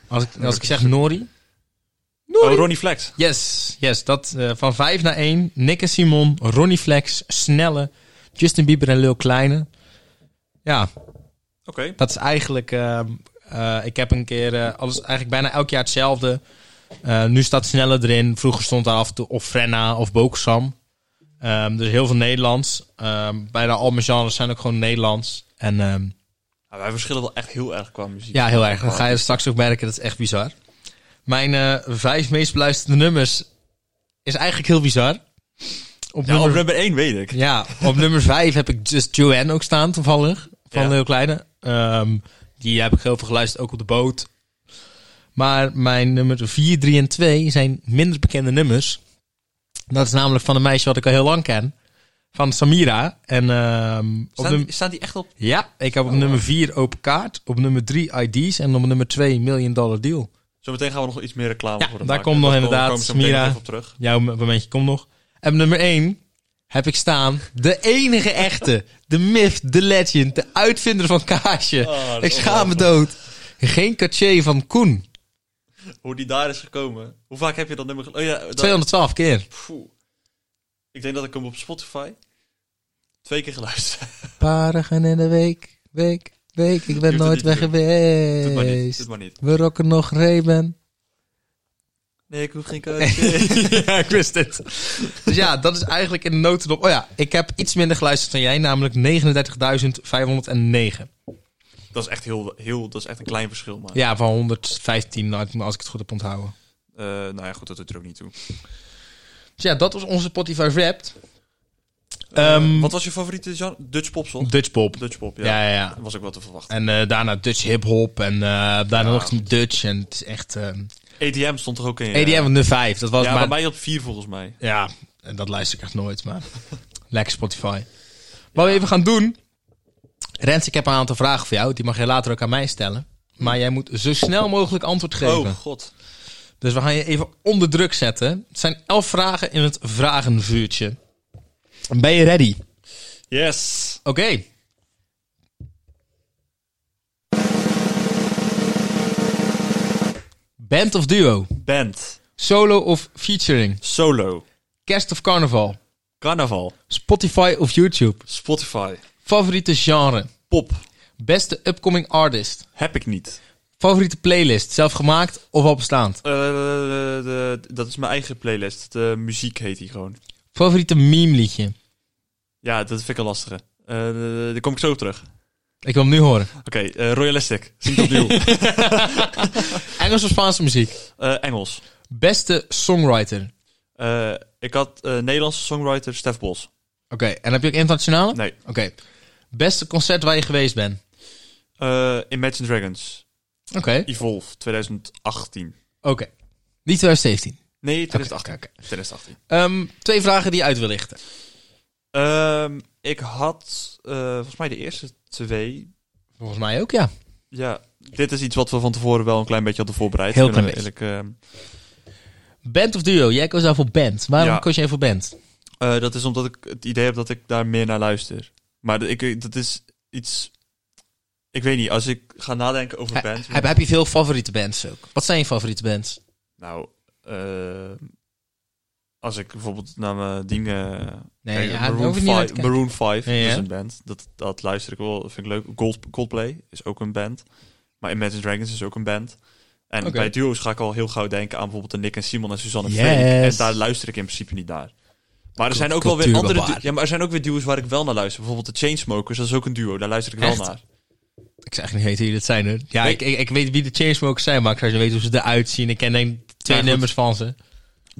[SPEAKER 1] Als ik, als ik zeg Nori. Nori.
[SPEAKER 2] Oh, Ronnie Flex.
[SPEAKER 1] Yes, yes. Dat eh, van 5 naar 1. Nick en Simon, Ronnie Flex, Snelle, Justin Bieber en Lil Kleine. Ja,
[SPEAKER 2] Oké.
[SPEAKER 1] dat is eigenlijk ehm, eh, Eh, ik heb een keer eh, alles, eigenlijk bijna elk jaar hetzelfde. Eh, nu staat Snelle erin. Vroeger stond daar af en toe of Frenna of Boksam. Ehm dus heel veel Nederlands. Ehm, bijna al mijn genres zijn ook gewoon Nederlands. En ehm,
[SPEAKER 2] Nou, wij verschillen wel echt heel erg qua muziek.
[SPEAKER 1] ja, heel erg. Dat ga je straks ook merken. Dat is echt bizar. Mijn eh, vijf meest beluisterde nummers is eigenlijk heel bizar. Op
[SPEAKER 2] Ja, op nummer 1 weet ik.
[SPEAKER 1] ja, op nummer 5 heb ik Just Joanne ook staan, toevallig. Van
[SPEAKER 2] Ja.
[SPEAKER 1] Leo Kleine. Ehm, die heb ik heel veel geluisterd, ook op de boot. Maar mijn nummer 4, 3 en 2 zijn minder bekende nummers. Dat is namelijk van een meisje wat ik al heel lang ken. Van Samira. En, ehm, op
[SPEAKER 2] Staan,
[SPEAKER 1] nummer-
[SPEAKER 2] die- staan die echt op?
[SPEAKER 1] ja, ik heb op nummer 4 Open Kaart. Op nummer 3 ID's. En op nummer 2 Million Dollar Deal.
[SPEAKER 2] Zometeen gaan we nog iets meer reclame
[SPEAKER 1] Ja,
[SPEAKER 2] voor hem
[SPEAKER 1] daar
[SPEAKER 2] maken.
[SPEAKER 1] komt nog
[SPEAKER 2] komen-
[SPEAKER 1] inderdaad
[SPEAKER 2] komen we zo meteen
[SPEAKER 1] Smira.
[SPEAKER 2] nog even op terug.
[SPEAKER 1] Jouw momentje komt nog. En op nummer 1 heb ik staan de enige echte, de myth, de legend, de uitvinder van kaasje.
[SPEAKER 2] Oh, dat
[SPEAKER 1] ik
[SPEAKER 2] is
[SPEAKER 1] schaam me dood. Geen caché van Koen.
[SPEAKER 2] Hoe die daar is gekomen. Hoe vaak heb je dat nummer... ge- Oh ja, dat-
[SPEAKER 1] 212 keer.
[SPEAKER 2] Pfoe. Ik denk dat ik hem op Spotify twee keer geluisterd heb.
[SPEAKER 1] Paragen in de week, week, week. Ik ben
[SPEAKER 2] het
[SPEAKER 1] nooit
[SPEAKER 2] niet
[SPEAKER 1] weg
[SPEAKER 2] te
[SPEAKER 1] geweest.
[SPEAKER 2] Doe het maar niet. Doe het maar niet.
[SPEAKER 1] We rocken nog Reben.
[SPEAKER 2] Nee, ik hoef geen keuze.
[SPEAKER 1] ja, ik wist het. Dus ja, dat is eigenlijk in de notendop. Oh ja, ik heb iets minder geluisterd dan jij, namelijk 39.509.
[SPEAKER 2] dat is echt heel, heel... Dat is echt een klein verschil, maar...
[SPEAKER 1] Ja, van 115 als ik het goed heb onthouden.
[SPEAKER 2] Eh, nou ja, goed, dat doet er ook niet toe.
[SPEAKER 1] Dus ja, dat was onze Spotify Wrapped.
[SPEAKER 2] Eh,
[SPEAKER 1] Ehm,
[SPEAKER 2] wat was je favoriete genre? Dutch pop, toch?
[SPEAKER 1] Dutch pop.
[SPEAKER 2] Dutch pop, ja.
[SPEAKER 1] Ja, ja, ja.
[SPEAKER 2] Dat was ook wel te verwachten.
[SPEAKER 1] En eh, daarna Dutch hip hop en eh, daarna nog nog Dutch. En het is echt... eh
[SPEAKER 2] EDM E stond er ook in. ja.
[SPEAKER 1] EDM van de 5. Dat E was
[SPEAKER 2] Ja,
[SPEAKER 1] maar...
[SPEAKER 2] bij mij op vier volgens mij.
[SPEAKER 1] Ja, en dat luister ik echt nooit, maar... Lekker Spotify. Wat we even gaan doen... Rens, ik heb een aantal vragen voor jou. Die mag je later ook aan mij stellen. Maar jij moet zo snel mogelijk antwoord geven.
[SPEAKER 2] Oh, god.
[SPEAKER 1] Dus we gaan je even onder druk zetten. Het zijn elf vragen in het vragenvuurtje. Ben je ready?
[SPEAKER 2] Yes.
[SPEAKER 1] Oké. Band of duo?
[SPEAKER 2] Band.
[SPEAKER 1] Solo of featuring?
[SPEAKER 2] Solo.
[SPEAKER 1] Kerst of carnaval?
[SPEAKER 2] Carnaval.
[SPEAKER 1] Spotify of YouTube?
[SPEAKER 2] Spotify.
[SPEAKER 1] Favoriete genre?
[SPEAKER 2] Pop.
[SPEAKER 1] Beste upcoming artist?
[SPEAKER 2] Heb ik niet.
[SPEAKER 1] Favoriete playlist? Zelfgemaakt of al bestaand?
[SPEAKER 2] Eh, de- dat is mijn eigen playlist. De muziek heet die gewoon.
[SPEAKER 1] Favoriete meme liedje?
[SPEAKER 2] Ja, dat vind ik een lastige. Eh, daar kom ik zo op terug.
[SPEAKER 1] Ik wil hem nu horen.
[SPEAKER 2] Oké, eh, Royalistic. Zing het opnieuw.
[SPEAKER 1] Engels of Spaanse muziek?
[SPEAKER 2] Eh, Engels.
[SPEAKER 1] Beste songwriter? Oké,
[SPEAKER 2] Eh, ik had eh, Nederlandse songwriter Stef Bos.
[SPEAKER 1] en heb je ook internationale?
[SPEAKER 2] Nee.
[SPEAKER 1] Oké. Beste concert waar je geweest bent?
[SPEAKER 2] Eh, Imagine Dragons.
[SPEAKER 1] Oké.
[SPEAKER 2] Evolve 2018.
[SPEAKER 1] Oké. Niet 2017.
[SPEAKER 2] Nee,
[SPEAKER 1] Oké,
[SPEAKER 2] 2018.
[SPEAKER 1] oké, oké.
[SPEAKER 2] 2018.
[SPEAKER 1] Ehm, twee vragen die je uit wil lichten.
[SPEAKER 2] Ehm, ik had eh, volgens mij de eerste twee.
[SPEAKER 1] Volgens mij ook, ja.
[SPEAKER 2] Ja, dit is iets wat we van tevoren wel een klein beetje hadden voorbereid.
[SPEAKER 1] Heel
[SPEAKER 2] Ik ben
[SPEAKER 1] klein
[SPEAKER 2] eerlijk, ehm,
[SPEAKER 1] Band of duo? Jij koos daar voor band. Waarom
[SPEAKER 2] Ja.
[SPEAKER 1] koos jij voor band?
[SPEAKER 2] Eh, dat is omdat ik het idee heb dat ik daar meer naar luister. Maar dat- ik, eh, dat is iets. Ik weet niet, als ik ga nadenken over
[SPEAKER 1] He-
[SPEAKER 2] bands.
[SPEAKER 1] heb, heb je veel favoriete bands ook? Wat zijn je favoriete bands?
[SPEAKER 2] Nou, eh, als ik bijvoorbeeld naar mijn dingen.
[SPEAKER 1] Nee,
[SPEAKER 2] kijk,
[SPEAKER 1] ja, daar
[SPEAKER 2] Maroon,
[SPEAKER 1] hoef je niet naar
[SPEAKER 2] 5,
[SPEAKER 1] te kijken.
[SPEAKER 2] Maroon 5
[SPEAKER 1] Ja,
[SPEAKER 2] is
[SPEAKER 1] ja.
[SPEAKER 2] een band. Dat, dat luister ik wel, dat vind ik leuk. Gold, Coldplay is ook een band. Maar Imagine Dragons is ook een band. En
[SPEAKER 1] Oké.
[SPEAKER 2] bij duo's ga ik al heel gauw denken aan bijvoorbeeld de Nick en Simon en Suzanne
[SPEAKER 1] Yes.
[SPEAKER 2] Freek. En daar luister ik in principe niet naar. Maar er zijn ook wel weer andere
[SPEAKER 1] Cultuurbewaar.
[SPEAKER 2] du- ja, maar er zijn ook weer duo's waar ik wel naar luister. Bijvoorbeeld de Chainsmokers, dat is ook een duo. Daar luister ik wel
[SPEAKER 1] Echt?
[SPEAKER 2] naar.
[SPEAKER 1] Ik zeg niet weten wie dat zijn, hoor. Ja,
[SPEAKER 2] Nee.
[SPEAKER 1] ik, ik, ik weet wie de Chainsmokers zijn, maar ik zou niet weten hoe ze eruit zien. Ik ken denk ik twee
[SPEAKER 2] Ja, goed.
[SPEAKER 1] nummers van ze.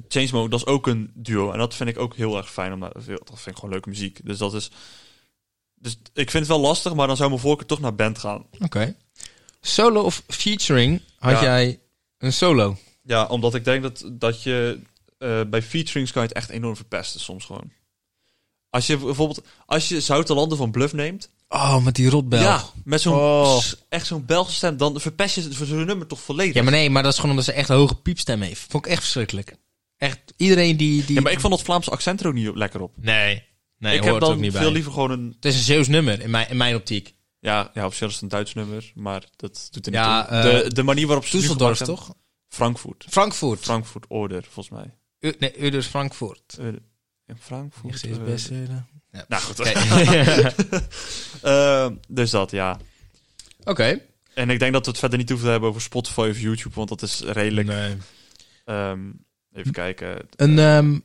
[SPEAKER 2] Chainsmokers, dat is ook een duo. En dat vind ik ook heel erg fijn. Om naar, dat vind ik gewoon leuke muziek. Dus dat is... Dus ik vind het wel lastig, maar dan zou mijn voorkeur toch naar band gaan.
[SPEAKER 1] Oké. Solo of featuring had
[SPEAKER 2] Ja.
[SPEAKER 1] jij een solo?
[SPEAKER 2] Ja, omdat ik denk dat, dat je eh, bij featurings kan je het echt enorm verpesten soms gewoon. Als je bijvoorbeeld, als je Zoutelanden van Bluff neemt,
[SPEAKER 1] Oh, met die rotbel.
[SPEAKER 2] ja, met zo'n
[SPEAKER 1] Oh.
[SPEAKER 2] s- echt zo'n Belgische stem, dan verpest je het voor zo'n nummer toch volledig.
[SPEAKER 1] Ja, maar nee, maar dat is gewoon omdat ze echt een hoge piepstem heeft. Vond ik echt verschrikkelijk. Echt, iedereen die... die...
[SPEAKER 2] Ja, maar ik vond dat Vlaamse accent er ook niet lekker op.
[SPEAKER 1] Nee, nee,
[SPEAKER 2] ik
[SPEAKER 1] hoort
[SPEAKER 2] heb dan
[SPEAKER 1] ook niet
[SPEAKER 2] veel
[SPEAKER 1] bij.
[SPEAKER 2] liever gewoon een,
[SPEAKER 1] Het is een Zeeuws nummer, in mijn, in mijn optiek.
[SPEAKER 2] ja, ja op zich is het een Duits nummer, maar dat doet er niet
[SPEAKER 1] Ja,
[SPEAKER 2] toe.
[SPEAKER 1] eh,
[SPEAKER 2] de, de manier waarop ze het nu
[SPEAKER 1] Düsseldorf,
[SPEAKER 2] gemaakt hebben-
[SPEAKER 1] toch?
[SPEAKER 2] Frankfurt.
[SPEAKER 1] Frankfurt.
[SPEAKER 2] Frankfurt Order, volgens mij.
[SPEAKER 1] U- nee, Udders Frankfurt.
[SPEAKER 2] Eh, in Frankfurt. eh,
[SPEAKER 1] Ja.
[SPEAKER 2] Nou goed.
[SPEAKER 1] Oké.
[SPEAKER 2] Eh, dus dat, eh, ja.
[SPEAKER 1] Oké.
[SPEAKER 2] En ik denk dat we het verder niet hoeven te hebben over Spotify of YouTube, want dat is redelijk.
[SPEAKER 1] Nee.
[SPEAKER 2] ehm, even kijken.
[SPEAKER 1] Een ehm,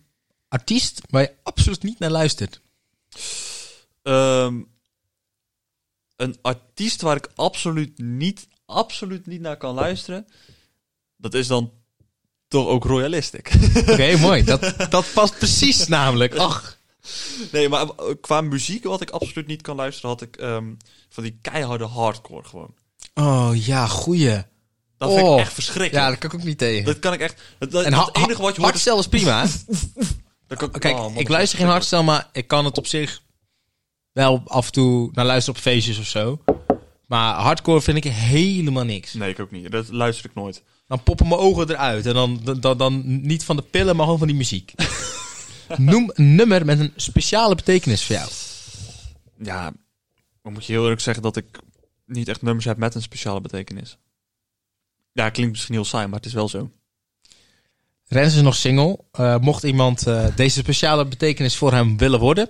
[SPEAKER 1] artiest waar je absoluut niet naar luistert.
[SPEAKER 2] Ehm, een artiest waar ik absoluut niet, absoluut niet naar kan luisteren, dat is dan toch ook Royalistic.
[SPEAKER 1] Oké, mooi. Dat, dat past precies namelijk. Ach,
[SPEAKER 2] nee, maar eh, qua muziek wat ik absoluut niet kan luisteren, had ik ehm, van die keiharde hardcore gewoon.
[SPEAKER 1] oh ja, goeie.
[SPEAKER 2] Dat vind ik
[SPEAKER 1] Oh.
[SPEAKER 2] echt verschrikkelijk.
[SPEAKER 1] Ja, dat kan ik ook niet tegen.
[SPEAKER 2] Dat kan ik echt. Dat, dat-
[SPEAKER 1] En
[SPEAKER 2] het
[SPEAKER 1] ha- ha-
[SPEAKER 2] enige wat je hoort is.
[SPEAKER 1] hardstyle is prima. Oh, hè?
[SPEAKER 2] dat kan-
[SPEAKER 1] Kijk,
[SPEAKER 2] oh, man,
[SPEAKER 1] ik
[SPEAKER 2] dat
[SPEAKER 1] luister
[SPEAKER 2] is
[SPEAKER 1] geen hardstyle, maar ik kan het op zich wel af en toe naar luisteren op feestjes of zo. Maar hardcore vind ik helemaal niks.
[SPEAKER 2] Nee, ik ook niet. Dat luister ik nooit.
[SPEAKER 1] Dan poppen mijn ogen eruit. En dan, dan, dan, dan niet van de pillen, maar gewoon van die muziek. Noem een nummer met een speciale betekenis voor jou.
[SPEAKER 2] Ja, dan moet je heel eerlijk zeggen dat ik niet echt nummers heb met een speciale betekenis. Ja, klinkt misschien heel saai, maar het is wel zo.
[SPEAKER 1] Rens is nog single. Eh, mocht iemand eh, deze speciale betekenis voor hem willen worden,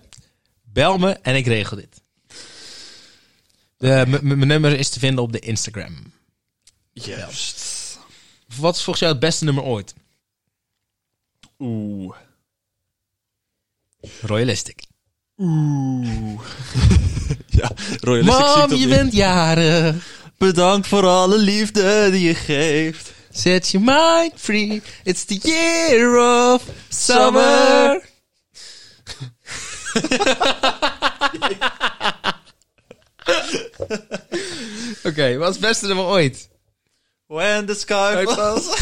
[SPEAKER 1] bel me en ik regel dit. De- m- m- Mijn nummer is te vinden op de Instagram.
[SPEAKER 2] Juist.
[SPEAKER 1] Wat is volgens jou het beste nummer ooit?
[SPEAKER 2] Oeh.
[SPEAKER 1] Royalistic.
[SPEAKER 2] Oeh. ja, royalistic
[SPEAKER 1] Mam,
[SPEAKER 2] zie ik dat
[SPEAKER 1] je
[SPEAKER 2] niet.
[SPEAKER 1] bent jarig.
[SPEAKER 2] Bedankt voor alle liefde die je geeft.
[SPEAKER 1] Set your mind free. It's the year of summer. Oké, wat is het beste nummer ooit?
[SPEAKER 2] When the sky falls.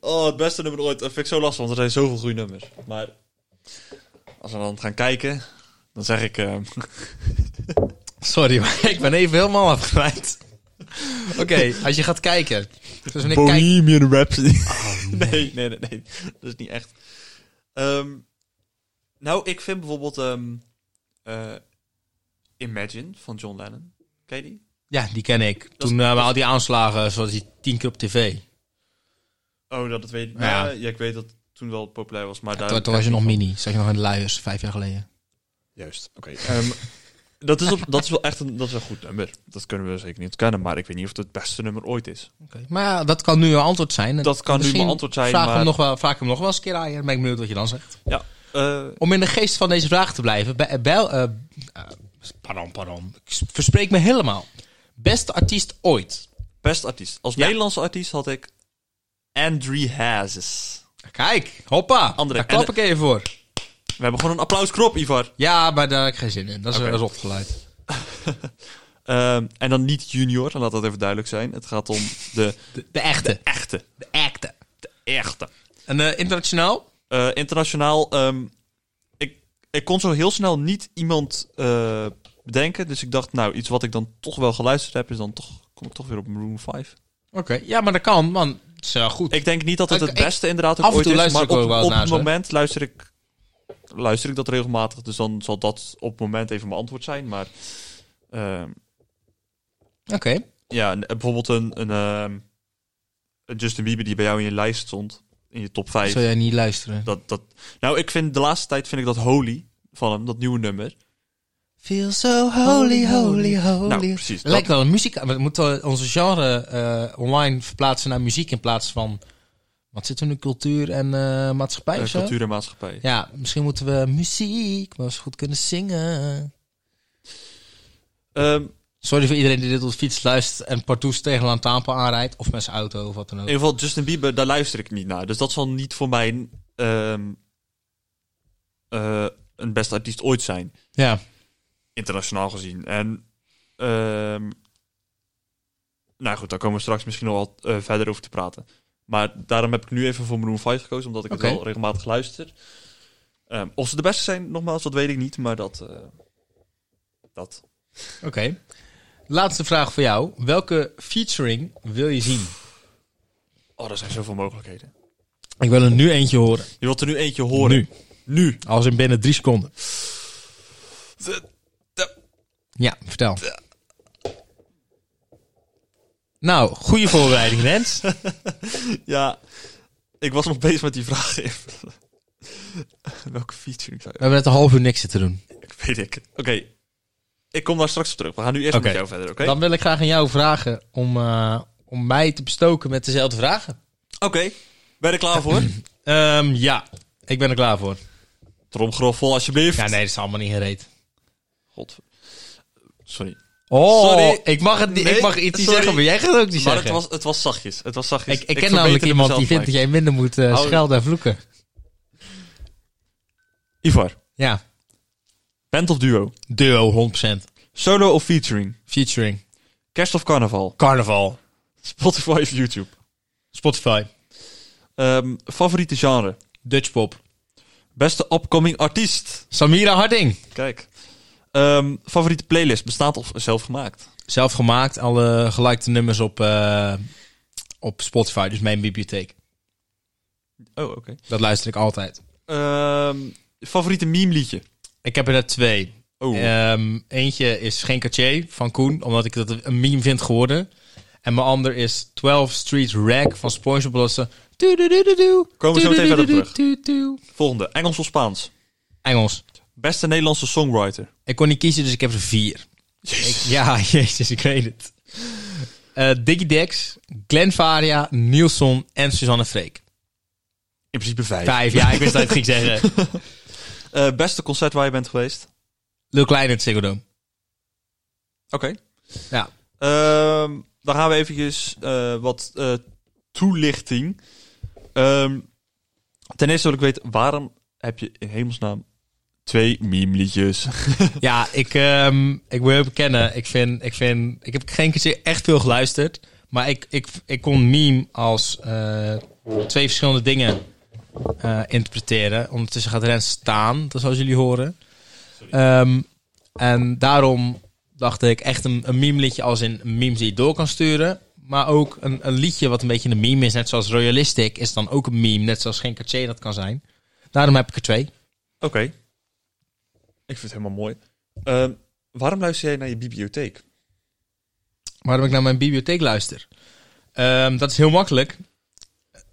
[SPEAKER 2] Oh, het beste nummer ooit. Dat vind ik zo lastig, want er zijn zoveel goede nummers. Maar als we dan gaan kijken, dan zeg ik... ehm,
[SPEAKER 1] Sorry, maar ik ben even helemaal afgeleid. Oké, als je gaat kijken. Dus wanneer ik kijk... Ah,
[SPEAKER 2] Bohemian Rhapsody. nee. nee, nee, nee, Dat is niet echt. Ehm, nou, ik vind bijvoorbeeld ehm, eh, Imagine van John Lennon. Ken je die?
[SPEAKER 1] Ja, die ken ik. Toen eh, al die aanslagen, zoals die tien keer op tv.
[SPEAKER 2] Oh, dat, dat weet ik.
[SPEAKER 1] Ja.
[SPEAKER 2] Ja. ja, ik weet dat het toen wel populair was, maar daar...
[SPEAKER 1] Toen, toen was je nog mini. Zag je nog in de luiers, vijf jaar geleden.
[SPEAKER 2] Juist, oké. Ehm, dat, is op- dat is wel echt een, dat is een goed nummer. Dat kunnen we zeker niet ontkennen, maar ik weet niet of het het beste nummer ooit is.
[SPEAKER 1] Oké. Maar ja, dat kan nu een antwoord zijn.
[SPEAKER 2] Dat kan nu
[SPEAKER 1] Misschien
[SPEAKER 2] mijn antwoord zijn,
[SPEAKER 1] Vraag,
[SPEAKER 2] maar...
[SPEAKER 1] hem nog wel, vraag hem nog wel eens een keer aan je. Dan ben ik benieuwd wat je dan zegt.
[SPEAKER 2] Ja, eh,
[SPEAKER 1] Om in de geest van deze vraag te blijven. Bij, bel, eh, eh, pardon, pardon. Ik verspreek me helemaal. Beste artiest ooit.
[SPEAKER 2] best artiest. Als
[SPEAKER 1] Ja.
[SPEAKER 2] Nederlandse artiest had ik Andrew Hazes.
[SPEAKER 1] Kijk, hoppa.
[SPEAKER 2] André,
[SPEAKER 1] daar klap
[SPEAKER 2] en-
[SPEAKER 1] ik even voor.
[SPEAKER 2] We hebben gewoon een applauskrop, Ivar.
[SPEAKER 1] Ja, maar daar heb ik geen zin in. Dat is,
[SPEAKER 2] Oké.
[SPEAKER 1] dat is opgeleid.
[SPEAKER 2] Ehm, en dan niet junior, laat dat even duidelijk zijn. Het gaat om de
[SPEAKER 1] De, de echte.
[SPEAKER 2] echte.
[SPEAKER 1] De echte.
[SPEAKER 2] Echte.
[SPEAKER 1] En eh, internationaal?
[SPEAKER 2] Eh, internationaal, ehm, ik, ik kon zo heel snel niet iemand eh, bedenken. Dus ik dacht, nou, iets wat ik dan toch wel geluisterd heb, is dan toch, kom ik toch weer op Room 5.
[SPEAKER 1] Oké, ja, maar dat kan, man. Dat is wel goed.
[SPEAKER 2] Ik denk niet dat het
[SPEAKER 1] Ik-
[SPEAKER 2] het
[SPEAKER 1] ik-
[SPEAKER 2] beste inderdaad ook
[SPEAKER 1] af en
[SPEAKER 2] ooit
[SPEAKER 1] toe
[SPEAKER 2] is,
[SPEAKER 1] luister
[SPEAKER 2] maar
[SPEAKER 1] ik ook
[SPEAKER 2] op,
[SPEAKER 1] wel
[SPEAKER 2] op
[SPEAKER 1] eens
[SPEAKER 2] het
[SPEAKER 1] naar ze.
[SPEAKER 2] moment luister ik, luister ik dat regelmatig. Dus dan zal dat op het moment even mijn antwoord zijn. Maar ehm,
[SPEAKER 1] Oké.
[SPEAKER 2] Ja, en, eh, bijvoorbeeld een, een, ehm, een Justin Bieber die bij jou in je lijst stond, in je top 5.
[SPEAKER 1] Zou jij niet luisteren?
[SPEAKER 2] Dat, dat, nou, ik vind de laatste tijd vind ik dat Holy van hem, dat nieuwe nummer.
[SPEAKER 1] Feel so holy, holy, holy.
[SPEAKER 2] Nou, precies.
[SPEAKER 1] Het lijkt wel een muziek. We moeten onze genre eh, online verplaatsen naar muziek in plaats van. Wat zit er nu? Cultuur en eh, maatschappij
[SPEAKER 2] eh,
[SPEAKER 1] of zo?
[SPEAKER 2] cultuur en maatschappij.
[SPEAKER 1] Ja, misschien moeten we muziek wel eens goed kunnen zingen.
[SPEAKER 2] Ehm,
[SPEAKER 1] Sorry voor iedereen die dit op de fiets luistert en partout tegen een lantaarnpaal aanrijdt. Of met zijn auto of wat dan
[SPEAKER 2] in
[SPEAKER 1] ook.
[SPEAKER 2] ieder geval, Justin Bieber, daar luister ik niet naar. Dus dat zal niet voor mij een, ehm, eh, een beste artiest ooit zijn.
[SPEAKER 1] Ja.
[SPEAKER 2] internationaal gezien. En ehm nou goed, daar komen we straks misschien nog wat eh, verder over te praten. Maar daarom heb ik nu even voor Maroon 5 gekozen, omdat ik
[SPEAKER 1] Oké.
[SPEAKER 2] het wel regelmatig luister. Ehm, of ze de beste zijn, nogmaals, dat weet ik niet, maar dat... eh, dat.
[SPEAKER 1] Oké. Laatste vraag voor jou. Welke featuring wil je zien?
[SPEAKER 2] Oh, er zijn zoveel mogelijkheden.
[SPEAKER 1] Ik wil er nu eentje horen.
[SPEAKER 2] Je wilt er nu eentje horen.
[SPEAKER 1] Nu.
[SPEAKER 2] Nu.
[SPEAKER 1] Als in binnen drie seconden. Ja, vertel. Nou, goede voorbereiding, Rens.
[SPEAKER 2] Ja, ik was nog bezig met die vraag. even. Welke featuring zou
[SPEAKER 1] We hebben net een half uur niks zitten doen.
[SPEAKER 2] je... Ik weet ik. Oké. Ik kom daar straks op terug. We gaan nu eerst
[SPEAKER 1] Oké.
[SPEAKER 2] met jou verder, oké?
[SPEAKER 1] Dan wil ik graag aan jou vragen om, eh, om mij te bestoken met dezelfde vragen.
[SPEAKER 2] Oké. Ben je er klaar voor?
[SPEAKER 1] Ehm, ja, ik ben er klaar voor.
[SPEAKER 2] Tromgeroffel, alsjeblieft.
[SPEAKER 1] Ja, nee, dat is allemaal niet gereed.
[SPEAKER 2] God. Sorry.
[SPEAKER 1] Oh,
[SPEAKER 2] Sorry.
[SPEAKER 1] ik mag, het niet,
[SPEAKER 2] Nee,
[SPEAKER 1] ik mag iets niet
[SPEAKER 2] sorry.
[SPEAKER 1] zeggen, maar jij gaat het ook niet
[SPEAKER 2] Maar het
[SPEAKER 1] zeggen.
[SPEAKER 2] was, het was zachtjes. Het was zachtjes.
[SPEAKER 1] ik, ik ken
[SPEAKER 2] verbeter
[SPEAKER 1] namelijk iemand
[SPEAKER 2] mezelf,
[SPEAKER 1] die vindt
[SPEAKER 2] Mike.
[SPEAKER 1] dat jij minder moet eh,
[SPEAKER 2] Hou-
[SPEAKER 1] schelden en vloeken.
[SPEAKER 2] Ivar,
[SPEAKER 1] Ja,
[SPEAKER 2] band of duo?
[SPEAKER 1] duo 100%.
[SPEAKER 2] Solo of featuring?
[SPEAKER 1] Featuring.
[SPEAKER 2] Kerst of carnaval?
[SPEAKER 1] Carnaval.
[SPEAKER 2] Spotify of YouTube?
[SPEAKER 1] Spotify.
[SPEAKER 2] Ehm, favoriete genre?
[SPEAKER 1] Dutch pop.
[SPEAKER 2] Beste upcoming artiest?
[SPEAKER 1] Samira Harding.
[SPEAKER 2] Kijk. Ehm, favoriete playlist? Bestaat of zelf gemaakt?
[SPEAKER 1] Zelf gemaakt, alle gelikte nummers op, eh, op Spotify, dus mijn bibliotheek.
[SPEAKER 2] Oh, oké.
[SPEAKER 1] Dat luister ik altijd.
[SPEAKER 2] Ehm, favoriete meme liedje?
[SPEAKER 1] Ik heb er net twee.
[SPEAKER 2] Oh.
[SPEAKER 1] Ehm, eentje is Geen Cartier van Koen, omdat ik dat een meme vind geworden. En mijn ander is 12 Street Rag van SpongeBob. Dat ze-
[SPEAKER 2] Komen we zo meteen verder op terug.
[SPEAKER 1] Doe, doe.
[SPEAKER 2] Volgende. Engels of Spaans?
[SPEAKER 1] Engels.
[SPEAKER 2] Beste Nederlandse songwriter?
[SPEAKER 1] Ik kon niet kiezen, dus ik heb er vier. Ik, ja, jezus, ik weet het. Eh Diggy Dex, Glenn Faria, Nielson en Suzanne Freek.
[SPEAKER 2] In principe vijf.
[SPEAKER 1] Vijf, ja, ik wist dat ik het ging zeggen.
[SPEAKER 2] Eh, beste concert waar je bent geweest?
[SPEAKER 1] Lil Klein in het Ziggo Dome.
[SPEAKER 2] Oké.
[SPEAKER 1] Ja.
[SPEAKER 2] Ehm, dan gaan we eventjes eh, wat eh, toelichting. Ehm, ten eerste wil ik weten, waarom heb je in hemelsnaam twee meme-liedjes?
[SPEAKER 1] Ja, ik, ehm, ik wil je bekennen. Ik, vind, ik, vind, ik heb geen keer echt veel geluisterd. Maar ik, ik, ik kon meme als eh, twee verschillende dingen eh, interpreteren. Ondertussen gaat Rens staan, dat zoals jullie horen. Ehm, en daarom dacht ik echt een, een meme liedje als in memes die je door kan sturen. Maar ook een, een liedje wat een beetje een meme is. Net zoals Royalistic is dan ook een meme. Net zoals geen caché dat kan zijn. Daarom heb ik er twee.
[SPEAKER 2] Oké. Ik vind het helemaal mooi. Ehm, waarom luister jij naar je bibliotheek?
[SPEAKER 1] waarom ik naar mijn bibliotheek luister. Ehm, dat is heel makkelijk.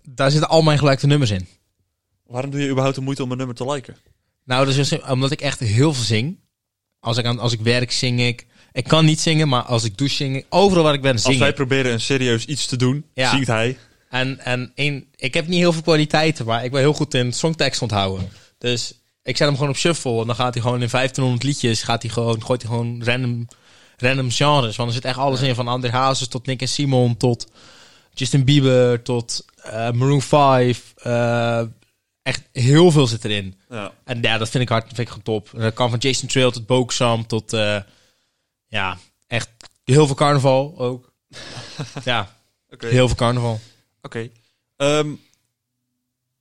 [SPEAKER 1] Daar zitten al mijn gelijkte nummers in.
[SPEAKER 2] Waarom doe je überhaupt de moeite om een nummer te liken?
[SPEAKER 1] Nou, dat is heel simpel, omdat ik echt heel veel zing. Als ik, aan, als ik werk, zing ik. Ik kan niet zingen, maar als ik douche, zing ik. Overal waar ik ben,
[SPEAKER 2] Als
[SPEAKER 1] zing
[SPEAKER 2] wij
[SPEAKER 1] ik.
[SPEAKER 2] proberen een serieus iets te doen,
[SPEAKER 1] Ja.
[SPEAKER 2] zingt hij.
[SPEAKER 1] En, en één- ik heb niet heel veel kwaliteiten, maar ik ben heel goed in songtekst onthouden. Dus ik zet hem gewoon op shuffle. En dan gaat hij gewoon in 1500 liedjes, gaat hij gewoon, gooit hij gewoon random, random genres. Want er zit echt alles in, van André Hazes tot Nick en Simon, tot Justin Bieber, tot eh, Maroon 5. eh, echt heel veel zit erin.
[SPEAKER 2] Ja.
[SPEAKER 1] En ja, dat vind ik hard, dat vind ik gewoon top. En dat kan van Jason Trail tot Boksam tot, eh, ja, echt heel veel carnaval ook. ja,
[SPEAKER 2] Oké.
[SPEAKER 1] heel veel carnaval.
[SPEAKER 2] Oké. Ehm,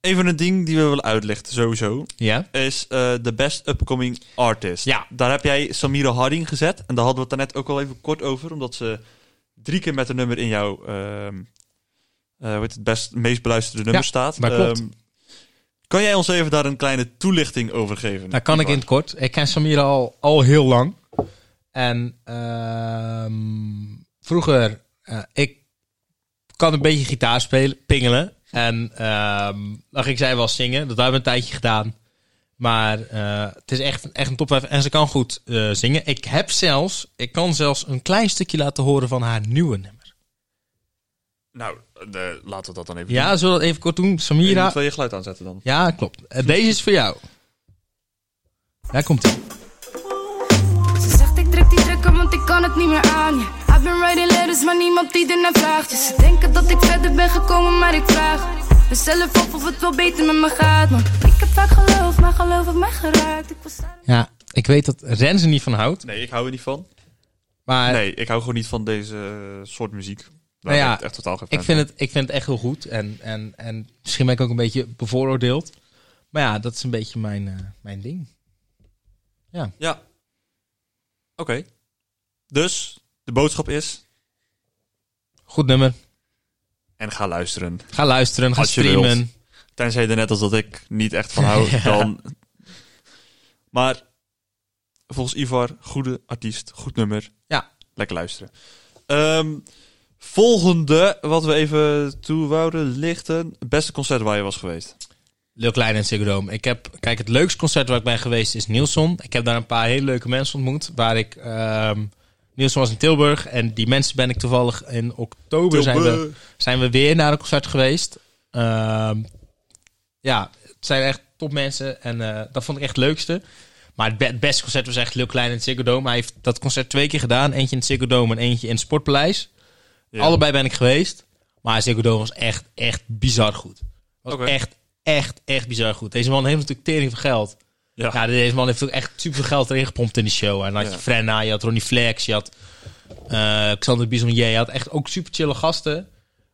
[SPEAKER 2] even een ding die we willen uitlichten, sowieso.
[SPEAKER 1] Ja?
[SPEAKER 2] is eh, de best upcoming artist.
[SPEAKER 1] Ja.
[SPEAKER 2] Daar heb jij Samira Harding gezet. En daar hadden we het net ook al even kort over. Omdat ze drie keer met een nummer in jouw... ehm eh, hoe heet het best, meest beluisterde nummer staat.
[SPEAKER 1] maar klopt.
[SPEAKER 2] Ehm, kan jij ons even daar een kleine toelichting over geven?
[SPEAKER 1] Daar kan ik in het kort. Ik ken Samira al, al heel lang. En ehm, vroeger, eh, ik kan een beetje gitaar spelen, pingelen. En ehm dan ging zij wel zingen. Dat hebben we een tijdje gedaan. Maar eh, het is echt, echt een top 5. En ze kan goed eh, zingen. Ik heb zelfs, ik kan zelfs een klein stukje laten horen van haar nieuwe nummer.
[SPEAKER 2] Nou, de, laten we dat dan even doen.
[SPEAKER 1] Ja, zullen we dat even kort doen?
[SPEAKER 2] Je
[SPEAKER 1] Samira.
[SPEAKER 2] moet wel je geluid aanzetten dan.
[SPEAKER 1] Ja, klopt. Eh, deze is voor jou. Daar komt ie.
[SPEAKER 3] Ze zegt ik druk die trekken, want ik kan het niet meer aan je. I've been writing letters, maar niemand die ernaar vraagt. Ja, ze denken dat ik verder ben gekomen, maar ik vraag mezelf af of het wel beter met me gaat, man. Ik heb vaak geloof, maar geloof heeft mij geraakt. Ik was
[SPEAKER 1] Ja, ik weet dat Rens er niet van houdt.
[SPEAKER 2] Nee, ik hou er niet van.
[SPEAKER 1] Maar
[SPEAKER 2] Nee, ik hou gewoon niet van deze soort muziek. Daar
[SPEAKER 1] Eh. Nou ja,
[SPEAKER 2] ben ik echt totaal geen
[SPEAKER 1] ik,
[SPEAKER 2] fan
[SPEAKER 1] vind het, ik vind het echt heel goed. En, en, en misschien ben ik ook een beetje bevooroordeeld. Maar ja, dat is een beetje mijn, eh, mijn ding.
[SPEAKER 2] van. Ja. Oké. Dus, de boodschap is...
[SPEAKER 1] Goed nummer.
[SPEAKER 2] En ga luisteren.
[SPEAKER 1] Ga luisteren, ga
[SPEAKER 2] Als je wilt.
[SPEAKER 1] streamen.
[SPEAKER 2] Tenzij er net als dat ik niet echt van hou, dan... Maar volgens Ivar, goede artiest, goed nummer.
[SPEAKER 1] Ja.
[SPEAKER 2] Lekker luisteren. Ehm, volgende, wat we even toe wouden lichten. Beste concert waar je was geweest.
[SPEAKER 1] Lil Kleine en Ziggo Dome. Ik heb, kijk, het leukste concert waar ik ben geweest is Nielson. Ik heb daar een paar hele leuke mensen ontmoet. Waar ik, ehm, Nielson was in Tilburg. En die mensen ben ik toevallig in oktober zijn we, zijn we weer naar een concert geweest. Ehm, ja, het zijn echt top mensen. En eh, dat vond ik echt het leukste. Maar het, be- het beste concert was echt Lil Kleine in het Ziggo Dome. Hij heeft dat concert twee keer gedaan. Eentje in het Ziggo Dome en eentje in het Sportpaleis.
[SPEAKER 2] Ja.
[SPEAKER 1] Allebei ben ik geweest. Maar Ziggo Dome was echt, echt bizar goed. Was
[SPEAKER 2] Oké.
[SPEAKER 1] echt, echt, echt bizar goed. Deze man heeft natuurlijk tering van geld.
[SPEAKER 2] Ja.
[SPEAKER 1] Ja, deze man heeft ook echt superveel geld erin gepompt in die show. En dan had
[SPEAKER 2] Ja.
[SPEAKER 1] je Frenna, je had Ronnie Flex, je had eh Xander Bisonnier. Je had echt ook super chille gasten.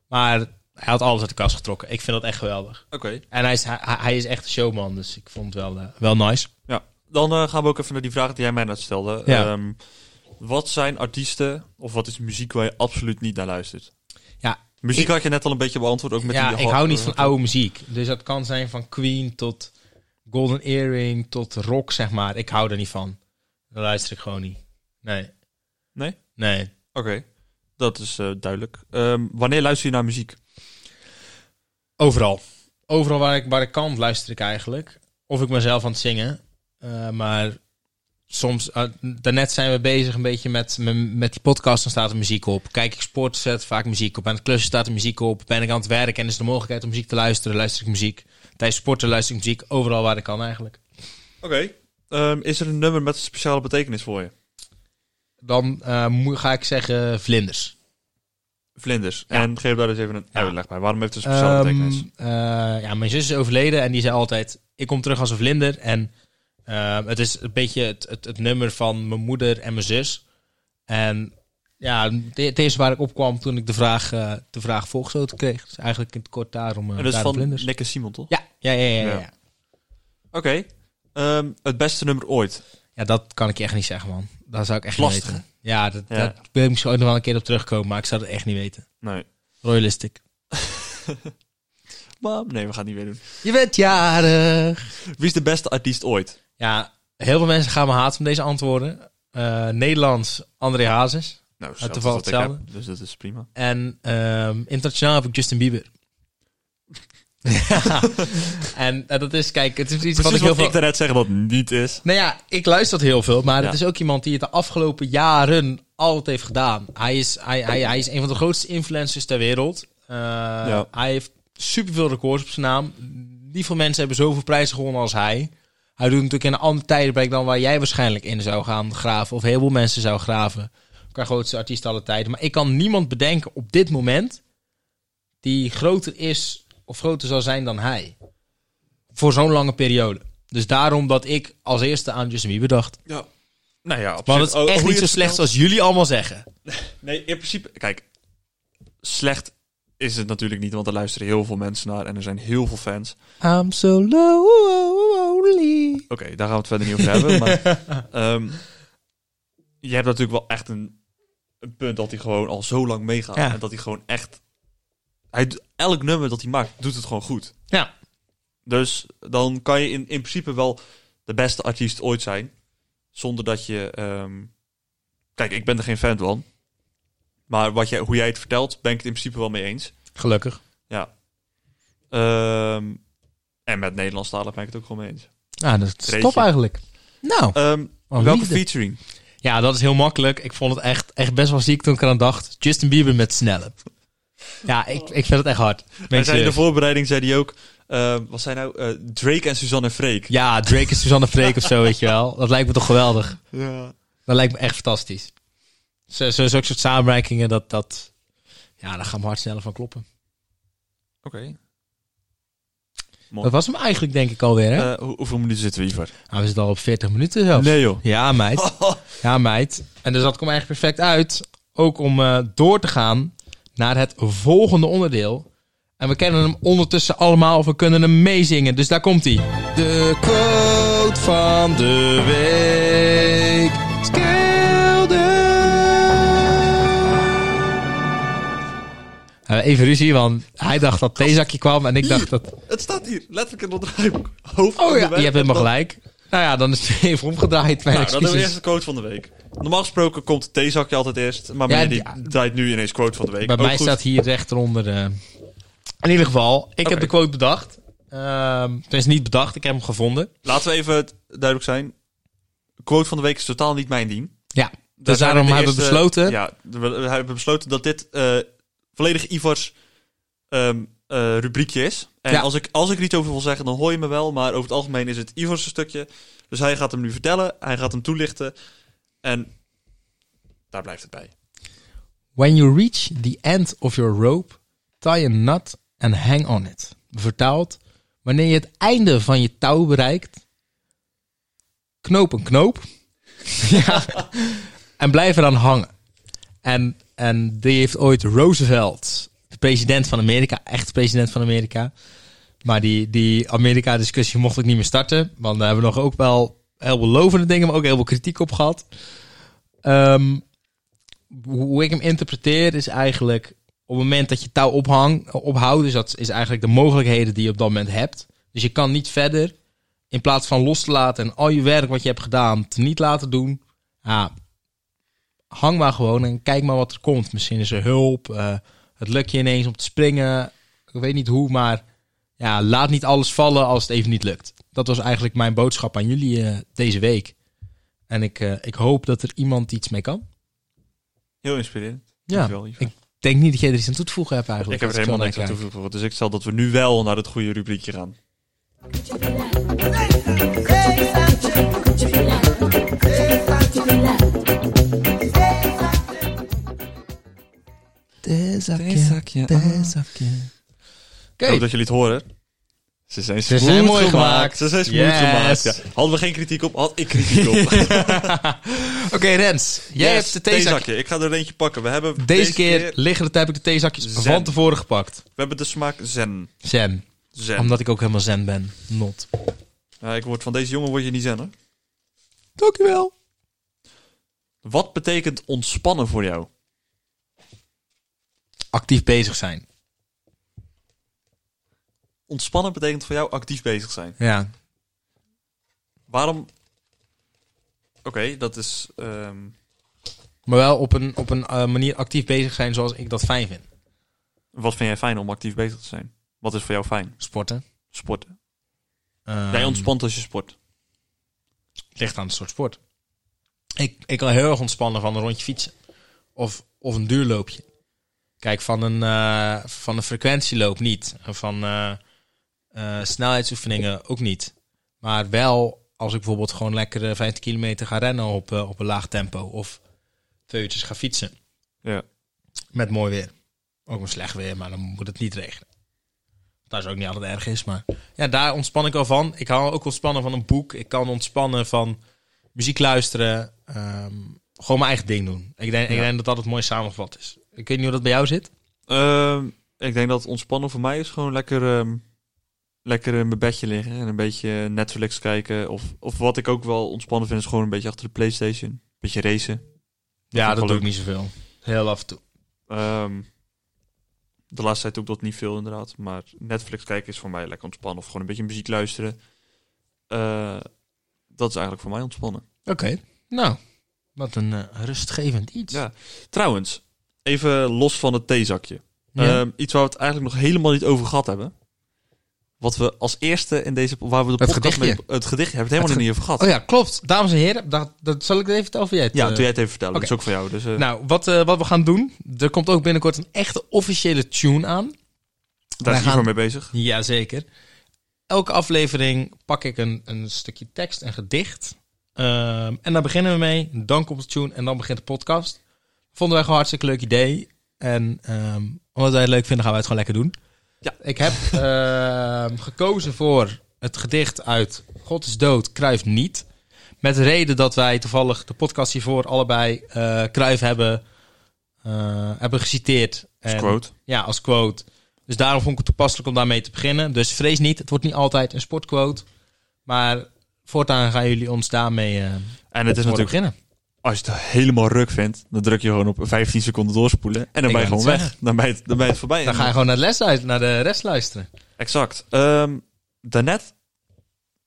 [SPEAKER 1] Maar hij had alles uit de kast getrokken. Ik vind dat echt geweldig.
[SPEAKER 2] Oké.
[SPEAKER 1] En hij is, hij, hij is echt een showman, dus ik vond het wel, eh, wel nice.
[SPEAKER 2] Ja. Dan eh, gaan we ook even naar die vraag die jij mij net stelde.
[SPEAKER 1] Ja.
[SPEAKER 2] Ehm, wat zijn artiesten of wat is muziek waar je absoluut niet naar luistert?
[SPEAKER 1] Ja,
[SPEAKER 2] Muziek
[SPEAKER 1] Ik-
[SPEAKER 2] had je net al een beetje beantwoord. Ook met
[SPEAKER 1] ja
[SPEAKER 2] die eh,
[SPEAKER 1] ik hou niet van oude muziek. Dus dat kan zijn van Queen tot Golden Earring tot rock, zeg maar. Ik hou er niet van. Daar luister ik gewoon niet. Nee.
[SPEAKER 2] Nee?
[SPEAKER 1] Nee.
[SPEAKER 2] Oké, dat is eh, duidelijk. Ehm, wanneer luister je naar muziek?
[SPEAKER 1] Overal. Overal waar ik, waar ik kan, luister ik eigenlijk. Of ik mezelf aan het zingen. Eh, maar soms... eh, daarnet zijn we bezig een beetje met, met, met die podcast. Dan staat er muziek op. Kijk ik sport, zet vaak muziek op. Aan het klussen staat er muziek op. Ben ik aan het werk en is er de mogelijkheid om muziek te luisteren, luister ik muziek. Tijdens sporten luister ik muziek. Overal waar ik kan eigenlijk.
[SPEAKER 2] Oké. Ehm, is er een nummer met een speciale betekenis voor je?
[SPEAKER 1] Dan eh, moe- ga ik zeggen vlinders.
[SPEAKER 2] Vlinders.
[SPEAKER 1] Ja.
[SPEAKER 2] En geef daar eens even een
[SPEAKER 1] Ja.
[SPEAKER 2] uitleg bij. Waarom heeft het een speciale
[SPEAKER 1] Ehm,
[SPEAKER 2] betekenis?
[SPEAKER 1] eh, ja, mijn zus is overleden en die zei altijd: Ik kom terug als een vlinder. En ehm, het is een beetje het, het, het nummer van mijn moeder en mijn zus. En ja, de- het eerste waar ik opkwam toen ik de vraag, eh de vraag volgesloten kreeg. Dus eigenlijk in het kort daarom. eh
[SPEAKER 2] En dat is
[SPEAKER 1] daarom
[SPEAKER 2] van
[SPEAKER 1] vlinders.
[SPEAKER 2] Nick en Simon, toch?
[SPEAKER 1] Ja, ja, ja, ja, ja,
[SPEAKER 2] Ja.
[SPEAKER 1] ja.
[SPEAKER 2] Oké. Ehm, het beste nummer ooit.
[SPEAKER 1] Ja, dat kan ik je echt niet zeggen, man. Dat zou ik echt
[SPEAKER 2] Lastig,
[SPEAKER 1] niet weten. Ja, dat,
[SPEAKER 2] Ja.
[SPEAKER 1] dat wil ik misschien ooit nog wel een keer op terugkomen, maar ik zou het echt niet weten.
[SPEAKER 2] Nee.
[SPEAKER 1] Royalistic.
[SPEAKER 2] Maar nee, we gaan het niet weer doen.
[SPEAKER 1] Je bent jarig.
[SPEAKER 2] Wie is de beste artiest ooit?
[SPEAKER 1] Ja, heel veel mensen gaan me haten met deze antwoorden. Eh, Nederlands, André Hazes.
[SPEAKER 2] Nou, hetzelfde
[SPEAKER 1] toevallig
[SPEAKER 2] als wat ik heb,
[SPEAKER 1] hetzelfde.
[SPEAKER 2] Dus dat is prima.
[SPEAKER 1] En ehm, internationaal heb ik Justin Bieber. Ja. En eh, dat is, kijk, het is iets wat
[SPEAKER 2] Precies
[SPEAKER 1] ik heel
[SPEAKER 2] wat
[SPEAKER 1] veel...
[SPEAKER 2] ik daarnet zeg wat niet is.
[SPEAKER 1] Nou ja, ik luister dat heel veel, maar
[SPEAKER 2] Ja.
[SPEAKER 1] het is ook iemand die het de afgelopen jaren altijd heeft gedaan. Hij is, hij, hij, hij is een van de grootste influencers ter wereld. Eh, Hij heeft superveel records op zijn naam. Niet veel mensen hebben zoveel prijzen gewonnen als hij. Hij doet natuurlijk in een ander tijdperk dan waar jij waarschijnlijk in zou gaan graven. Of heel veel mensen zou graven. Qua grootste artiest alle tijden. Maar ik kan niemand bedenken op dit moment die groter is of groter zal zijn dan hij. Voor zo'n lange periode. Dus daarom dat ik als eerste aan Justin Bieber dacht.
[SPEAKER 2] Ja. Nou ja, op
[SPEAKER 1] Maar
[SPEAKER 2] zich-
[SPEAKER 1] dat
[SPEAKER 2] oh,
[SPEAKER 1] is echt
[SPEAKER 2] hoe
[SPEAKER 1] niet
[SPEAKER 2] je
[SPEAKER 1] zo
[SPEAKER 2] het
[SPEAKER 1] slecht
[SPEAKER 2] vertelt-
[SPEAKER 1] als jullie allemaal zeggen.
[SPEAKER 2] Nee, in principe... Kijk, slecht is het natuurlijk niet, want er luisteren heel veel mensen naar en er zijn heel veel fans.
[SPEAKER 1] I'm so lonely.
[SPEAKER 2] Oké, daar gaan we het verder niet over hebben. Maar ehm, je hebt natuurlijk wel echt een, een punt dat hij gewoon al zo lang meegaat.
[SPEAKER 1] Ja.
[SPEAKER 2] En dat hij gewoon echt... Hij, doet- elk nummer dat hij maakt, doet het gewoon goed.
[SPEAKER 1] Ja.
[SPEAKER 2] Dus dan kan je in, in principe wel de beste artiest ooit zijn. Zonder dat je... ehm, kijk, ik ben er geen fan van. Maar wat jij, hoe jij het vertelt, ben ik het in principe wel mee eens.
[SPEAKER 1] Gelukkig.
[SPEAKER 2] Ehm, en met Nederlandstalig ben ik het ook gewoon mee eens.
[SPEAKER 1] Ja, Ah, dat is
[SPEAKER 2] Treetje.
[SPEAKER 1] top eigenlijk. Nou,
[SPEAKER 2] Ehm,
[SPEAKER 1] wat
[SPEAKER 2] welke
[SPEAKER 1] liefde.
[SPEAKER 2] featuring?
[SPEAKER 1] Ja, dat is heel makkelijk. Ik vond het echt, echt best wel ziek toen ik eraan dacht. Justin Bieber met snelle. Ja, ik, ik vind het echt hard. Ben
[SPEAKER 2] Hij
[SPEAKER 1] ik
[SPEAKER 2] zei in de
[SPEAKER 1] serieus.
[SPEAKER 2] voorbereiding zei hij ook, eh, wat zijn nou eh, Drake en Suzanne en Freek?
[SPEAKER 1] Ja, Drake en Suzanne Freek of zo, weet je wel. Dat lijkt me toch geweldig.
[SPEAKER 2] Ja.
[SPEAKER 1] Dat lijkt me echt fantastisch. Zo- zo- Zo'n soort samenwerkingen, dat, dat... Ja, daar gaan we hard sneller van kloppen.
[SPEAKER 2] Oké.
[SPEAKER 1] Dat was hem eigenlijk, denk ik, alweer, hè?
[SPEAKER 2] Eh, hoe- hoeveel minuten zitten we hiervoor?
[SPEAKER 1] Nou, we zitten al op 40 minuten zelfs.
[SPEAKER 2] Nee joh.
[SPEAKER 1] Ja, meid. Ja, meid. En dus dat komt eigenlijk perfect uit. Ook om eh, door te gaan naar het volgende onderdeel. En we kennen hem ondertussen allemaal, of we kunnen hem meezingen. Dus daar komt hij. De quote van de week. Eh, even ruzie, want hij dacht dat theezakje kwam en ik dacht dat...
[SPEAKER 2] Het staat hier, letterlijk in de draaiboek. Hoofd
[SPEAKER 1] Oh ja,
[SPEAKER 2] onderwerp.
[SPEAKER 1] je hebt helemaal
[SPEAKER 2] Dan-
[SPEAKER 1] gelijk. Nou ja, dan is het even omgedraaid. Mijn
[SPEAKER 2] Nou, dat is de
[SPEAKER 1] excuses.
[SPEAKER 2] eerste quote van de week. Normaal gesproken komt het theezakje altijd eerst, maar
[SPEAKER 1] Ja,
[SPEAKER 2] meneer
[SPEAKER 1] ja.
[SPEAKER 2] die draait nu ineens quote van de week.
[SPEAKER 1] Bij
[SPEAKER 2] Ook
[SPEAKER 1] mij
[SPEAKER 2] Oh,
[SPEAKER 1] dus
[SPEAKER 2] goed.
[SPEAKER 1] staat hier rechteronder. eh, in ieder geval, ik
[SPEAKER 2] Oké.
[SPEAKER 1] heb de quote bedacht. Eh, Ehm het is niet bedacht, ik heb hem gevonden.
[SPEAKER 2] Laten we even duidelijk zijn. Quote van de week is totaal niet mijn dien.
[SPEAKER 1] Ja,
[SPEAKER 2] Daar
[SPEAKER 1] dus
[SPEAKER 2] zijn
[SPEAKER 1] daarom
[SPEAKER 2] de
[SPEAKER 1] hebben we
[SPEAKER 2] eerste-
[SPEAKER 1] besloten.
[SPEAKER 2] Ja, we, we hebben besloten dat dit eh, volledig Ivars ehm, eh, rubriekje is. En
[SPEAKER 1] Ja.
[SPEAKER 2] als, ik, als ik er iets over wil zeggen, dan hoor je me wel. Maar over het algemeen is het Ivars stukje. Dus hij gaat hem nu vertellen. Hij gaat hem toelichten. En daar blijft het bij.
[SPEAKER 1] When you reach the end of your rope, tie a knot and hang on it. Vertaald, wanneer je het einde van je touw bereikt, knoop een knoop. ja, en blijf eraan hangen. En, en die heeft ooit Roosevelt, de president van Amerika, echt president van Amerika. Maar die, die Amerika-discussie mocht ik niet meer starten. Want daar hebben we nog ook wel heel veel lovende dingen, maar ook heel veel kritiek op gehad. Ehm hoe ik hem interpreteer is eigenlijk op het moment dat je touw ophang, ophoudt, dus dat is eigenlijk de mogelijkheden die je op dat moment hebt. Dus je kan niet verder, in plaats van los te laten en al je werk wat je hebt gedaan te niet laten doen, ja, hang maar gewoon en kijk maar wat er komt. Misschien is er hulp, eh, het lukt je ineens om te springen, ik weet niet hoe, maar ja, laat niet alles vallen als het even niet lukt. Dat was eigenlijk mijn boodschap aan jullie eh, deze week. En ik, eh, ik hoop dat er iemand iets mee kan.
[SPEAKER 2] Heel inspirerend.
[SPEAKER 1] Ja,
[SPEAKER 2] Dankjewel, Ivar.
[SPEAKER 1] ik denk niet dat jij er iets aan toe te voegen hebt
[SPEAKER 2] Ik
[SPEAKER 1] eigenlijk.
[SPEAKER 2] heb er
[SPEAKER 1] Als
[SPEAKER 2] helemaal
[SPEAKER 1] het
[SPEAKER 2] niks
[SPEAKER 1] zo
[SPEAKER 2] aan
[SPEAKER 1] naar kijkt.
[SPEAKER 2] toegevoegd. Dus ik stel dat we nu wel naar het goede rubriekje gaan. Ik hoop
[SPEAKER 1] Oké,
[SPEAKER 2] dat jullie het horen. Ze zijn,
[SPEAKER 1] Ze
[SPEAKER 2] smooth
[SPEAKER 1] zijn mooi gemaakt.
[SPEAKER 2] Ze zijn smooth
[SPEAKER 1] Yes.
[SPEAKER 2] gemaakt. Ja. Hadden we geen kritiek op, had ik kritiek op. Jij dus
[SPEAKER 1] Oké, Rens. Jij hebt de theezakje.
[SPEAKER 2] Ik ga er eentje pakken. We hebben
[SPEAKER 1] Deze, keer, liggen de, heb ik de theezakjes
[SPEAKER 2] Zen.
[SPEAKER 1] van tevoren gepakt.
[SPEAKER 2] We hebben de smaak zen.
[SPEAKER 1] Zen.
[SPEAKER 2] zen.
[SPEAKER 1] Omdat ik ook helemaal zen ben. Not.
[SPEAKER 2] Ja, ik word, van deze jongen word je niet zen, hoor.
[SPEAKER 1] Dankjewel.
[SPEAKER 2] Wat betekent ontspannen voor jou?
[SPEAKER 1] Actief bezig zijn.
[SPEAKER 2] Ontspannen betekent voor jou actief bezig zijn.
[SPEAKER 1] Ja.
[SPEAKER 2] Waarom... Oké, dat is... ehm,
[SPEAKER 1] Maar wel op een, op een eh, manier actief bezig zijn zoals ik dat fijn vind.
[SPEAKER 2] Wat vind jij fijn om actief bezig te zijn? Wat is voor jou fijn?
[SPEAKER 1] Sporten.
[SPEAKER 2] Sporten.
[SPEAKER 1] Ehm,
[SPEAKER 2] Jij ontspant als je sport.
[SPEAKER 1] ligt aan het soort sport. Ik, ik kan heel erg ontspannen van een rondje fietsen. Of, of een duurloopje. Kijk, van een, eh, van een frequentieloop niet. En Van eh, eh, snelheidsoefeningen ook niet. Maar wel als ik bijvoorbeeld gewoon lekker eh, 15 kilometer ga rennen op, eh, op een laag tempo. Of twee uurtjes ga fietsen.
[SPEAKER 2] Ja.
[SPEAKER 1] Met mooi weer. Ook een slecht weer, maar dan moet het niet regenen. Dat is ook niet altijd erg is, maar... Ja, daar ontspan ik al van. Ik kan ook ontspannen van een boek. Ik kan ontspannen van muziek luisteren. ehm, gewoon mijn eigen ding doen. Ik denk, ik
[SPEAKER 2] Ja.
[SPEAKER 1] denk dat dat het mooi samengevat is. Ik weet niet hoe dat bij jou zit.
[SPEAKER 2] Ehm, ik denk dat ontspannen voor mij is gewoon lekker, ehm, lekker in mijn bedje liggen en een beetje Netflix kijken. Of, of wat ik ook wel ontspannen vind, is gewoon een beetje achter de PlayStation. Een beetje racen.
[SPEAKER 1] Ja,
[SPEAKER 2] dat
[SPEAKER 1] dat doe ik
[SPEAKER 2] lukt.
[SPEAKER 1] niet zoveel. Heel af en toe.
[SPEAKER 2] Ehm, de laatste tijd ook dat niet veel inderdaad. Maar Netflix kijken is voor mij lekker ontspannen. Of gewoon een beetje muziek luisteren. Eh, dat is eigenlijk voor mij ontspannen.
[SPEAKER 1] Oké. Nou, wat een eh, rustgevend iets.
[SPEAKER 2] Ja. Trouwens, even los van het theezakje.
[SPEAKER 1] Ja.
[SPEAKER 2] Ehm, iets waar we het eigenlijk nog helemaal niet over gehad hebben. Wat we als eerste in deze... Waar we de
[SPEAKER 1] Het
[SPEAKER 2] podcast
[SPEAKER 1] gedichtje.
[SPEAKER 2] mee... Het gedicht hebben we het helemaal
[SPEAKER 1] Het
[SPEAKER 2] niet over gehad.
[SPEAKER 1] oh ja, klopt. Dames en heren, dat, dat zal ik er even vertellen of jij het...
[SPEAKER 2] ja,
[SPEAKER 1] eh,
[SPEAKER 2] toen jij het even vertelde.
[SPEAKER 1] oké.
[SPEAKER 2] Dat is ook van jou. Dus, eh,
[SPEAKER 1] Nou, wat, eh, wat we gaan doen... Er komt ook binnenkort een echte officiële tune aan.
[SPEAKER 2] daar
[SPEAKER 1] wij
[SPEAKER 2] is Igor
[SPEAKER 1] gaan-
[SPEAKER 2] mee bezig.
[SPEAKER 1] Jazeker. Elke aflevering pak ik een, een stukje tekst en gedicht. Ehm, en daar beginnen we mee. Dan komt de tune en dan begint de podcast. Vonden wij gewoon hartstikke leuk idee. En ehm, omdat wij het leuk vinden, gaan wij het gewoon lekker doen.
[SPEAKER 2] Ja.
[SPEAKER 1] Ik heb ehm, gekozen voor het gedicht uit God is dood, Kruif niet. Met de reden dat wij toevallig de podcast hiervoor allebei eh Kruif hebben, eh, hebben geciteerd.
[SPEAKER 2] Als
[SPEAKER 1] En-
[SPEAKER 2] quote.
[SPEAKER 1] ja, als quote. Dus daarom vond ik het toepasselijk om daarmee te beginnen. Dus vrees niet, het wordt niet altijd een sportquote. Maar voortaan gaan jullie ons daarmee eh
[SPEAKER 2] En het is natuurlijk...
[SPEAKER 1] beginnen.
[SPEAKER 2] Als je het helemaal ruk vindt, dan druk je gewoon op 15 seconden doorspoelen. En dan
[SPEAKER 1] Ik
[SPEAKER 2] ben je
[SPEAKER 1] wou
[SPEAKER 2] gewoon
[SPEAKER 1] het
[SPEAKER 2] weg. Dan ben je, het- dan ben je het voorbij.
[SPEAKER 1] Dan ga je gewoon naar de, les luisteren- naar de rest luisteren.
[SPEAKER 2] Exact. Ehm, daarnet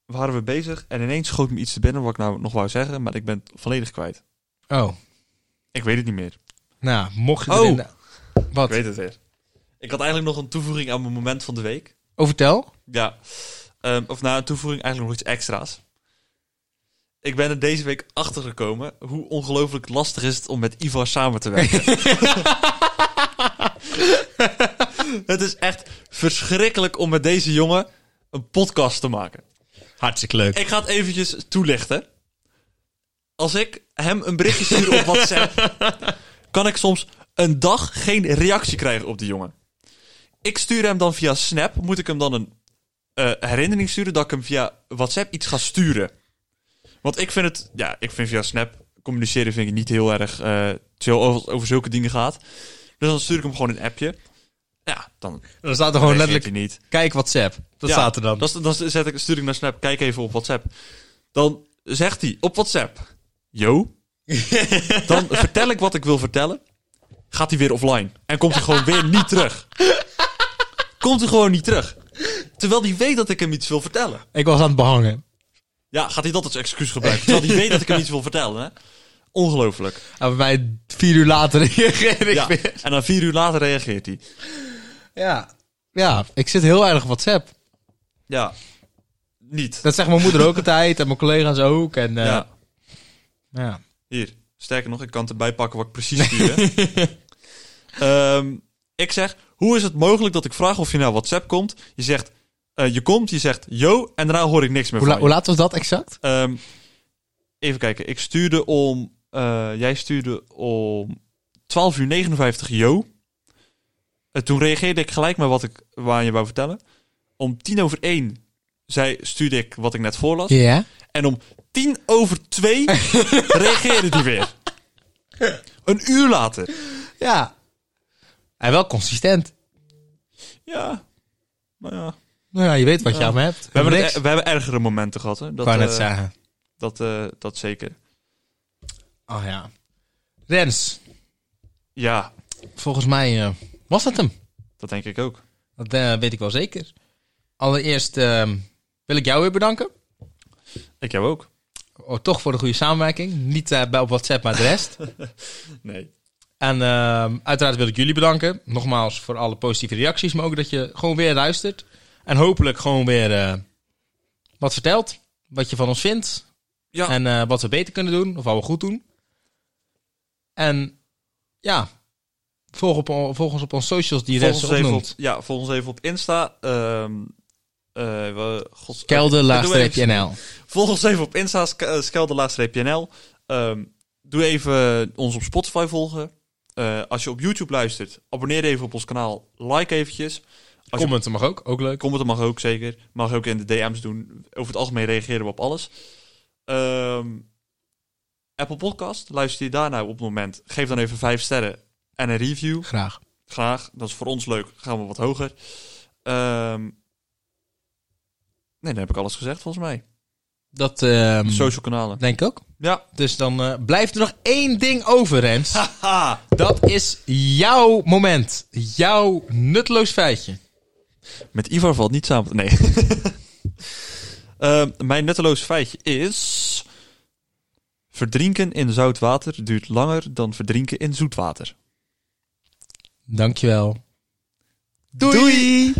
[SPEAKER 2] waren we bezig en ineens schoot me iets te binnen wat ik nou nog wou zeggen. Maar ik ben het volledig kwijt.
[SPEAKER 1] Oh,
[SPEAKER 2] Ik weet het niet meer.
[SPEAKER 1] nou, mocht je
[SPEAKER 2] Oh.
[SPEAKER 1] erin- Wat?
[SPEAKER 2] Ik weet het weer. Ik had eigenlijk nog een toevoeging aan mijn moment van de week.
[SPEAKER 1] Overtel.
[SPEAKER 2] Ja. Ehm, of na een toevoeging eigenlijk nog iets extra's. Ik ben er deze week achter gekomen hoe ongelooflijk lastig is het om met Ivar samen te werken. het is echt verschrikkelijk om met deze jongen een podcast te maken.
[SPEAKER 1] Hartstikke leuk.
[SPEAKER 2] Ik ga het eventjes toelichten. Als ik hem een berichtje stuur op WhatsApp, kan ik soms een dag geen reactie krijgen op die jongen. Ik stuur hem dan via Snap, moet ik hem dan een eh, herinnering sturen dat ik hem via WhatsApp iets ga sturen. Want ik vind het, ja, ik vind via Snap communiceren vind ik niet heel erg eh chill als het over zulke dingen gaat. Dus dan stuur ik hem gewoon een appje. Ja, dan
[SPEAKER 1] Dan staat er gewoon
[SPEAKER 2] reageert
[SPEAKER 1] letterlijk,
[SPEAKER 2] hij niet.
[SPEAKER 1] kijk WhatsApp. Dat
[SPEAKER 2] Ja,
[SPEAKER 1] staat er dan.
[SPEAKER 2] dat is- dan zet ik, stuur ik naar Snap, kijk even op WhatsApp. Dan zegt hij op WhatsApp, yo. dan vertel ik wat ik wil vertellen. Gaat hij weer offline. En komt hij gewoon weer niet terug. Komt hij gewoon niet terug. Terwijl hij weet dat ik hem iets wil vertellen.
[SPEAKER 1] Ik was aan het behangen.
[SPEAKER 2] Ja, gaat hij dat als excuus gebruiken? Terwijl hij weet dat ik hem iets wil vertellen. Hè? Ongelooflijk.
[SPEAKER 1] En bij mij vier uur later reageer ik
[SPEAKER 2] Ja.
[SPEAKER 1] weer.
[SPEAKER 2] En dan vier uur later reageert hij.
[SPEAKER 1] Ja. ja, ik zit heel erg op WhatsApp.
[SPEAKER 2] Ja, niet.
[SPEAKER 1] Dat zegt mijn moeder ook altijd en mijn collega's ook. En, eh,
[SPEAKER 2] Ja.
[SPEAKER 1] ja.
[SPEAKER 2] Hier, sterker nog, ik kan het erbij pakken wat ik precies stuurde. Ehm, ik zeg, hoe is het mogelijk dat ik vraag of je naar WhatsApp komt? Je zegt, eh, je komt, je zegt yo, en daarna hoor ik niks meer
[SPEAKER 1] Hoe, la-
[SPEAKER 2] van
[SPEAKER 1] hoe
[SPEAKER 2] je.
[SPEAKER 1] laat was dat exact?
[SPEAKER 2] Ehm, even kijken, ik stuurde om, eh, jij stuurde om 12 uur 59 yo. Eh, toen reageerde ik gelijk met wat ik waar je wou vertellen. Om tien over één zei, stuurde ik wat ik net voorlas.
[SPEAKER 1] Ja.
[SPEAKER 2] En om tien over twee reageerde hij weer. Een uur later.
[SPEAKER 1] Ja. En wel consistent.
[SPEAKER 2] Ja. Nou ja.
[SPEAKER 1] Nou ja, je weet wat je aan me hebt.
[SPEAKER 2] We hebben,
[SPEAKER 1] niks.
[SPEAKER 2] er- we hebben ergere momenten gehad. Hè? Dat,
[SPEAKER 1] kan het
[SPEAKER 2] eh,
[SPEAKER 1] zeggen.
[SPEAKER 2] dat, eh, dat zeker.
[SPEAKER 1] Oh ja. Rens,
[SPEAKER 2] Ja,
[SPEAKER 1] volgens mij eh, was dat hem.
[SPEAKER 2] dat denk ik ook.
[SPEAKER 1] Dat eh, weet ik wel zeker. Allereerst eh, wil ik jou weer bedanken.
[SPEAKER 2] Ik jou ook.
[SPEAKER 1] Oh, toch voor de goede samenwerking. Niet eh, bij op WhatsApp, maar de rest.
[SPEAKER 2] Nee.
[SPEAKER 1] en eh, uiteraard wil ik jullie bedanken. Nogmaals voor alle positieve reacties. Maar ook dat je gewoon weer luistert. En hopelijk gewoon weer eh, wat vertelt. Wat je van ons vindt.
[SPEAKER 2] Ja.
[SPEAKER 1] En eh, wat we beter kunnen doen. Of wat we goed doen. En ja. Volg, op, volg ons op onze socials die
[SPEAKER 2] Volg
[SPEAKER 1] Rens
[SPEAKER 2] ons, even op,
[SPEAKER 1] opnoemt.
[SPEAKER 2] ja, volg ons even op Insta. Ehm eh, we- gods-
[SPEAKER 1] Kelder, NL.
[SPEAKER 2] Volg ons even op Insta, sk- eh, skelderlaagstreepje.nl. Ehm, doe even ons op Spotify volgen. Eh, als je op YouTube luistert, abonneer even op ons kanaal. Like eventjes. Als je-
[SPEAKER 1] Commenten mag ook. Ook leuk.
[SPEAKER 2] Commenten mag ook zeker. Mag ook in de DM's doen. Over het algemeen reageren we op alles. Ehm, Apple Podcast, luister je daarna op het moment. Geef dan even vijf sterren en een review.
[SPEAKER 1] Graag.
[SPEAKER 2] Graag, dat is voor ons leuk. Gaan we wat hoger. Ehm, nee, dan heb ik alles gezegd volgens mij.
[SPEAKER 1] Dat ehm,
[SPEAKER 2] Social kanalen.
[SPEAKER 1] denk ik ook.
[SPEAKER 2] Ja.
[SPEAKER 1] Dus dan eh, blijft er nog één ding over, Rens.
[SPEAKER 2] Haha.
[SPEAKER 1] Dat is jouw moment. Jouw nutteloos feitje.
[SPEAKER 2] Met Ivar valt niet samen. Nee. Ehm, mijn nutteloos feitje is... Verdrinken in zout water duurt langer dan verdrinken in zoet water.
[SPEAKER 1] Dankjewel.
[SPEAKER 2] Doei!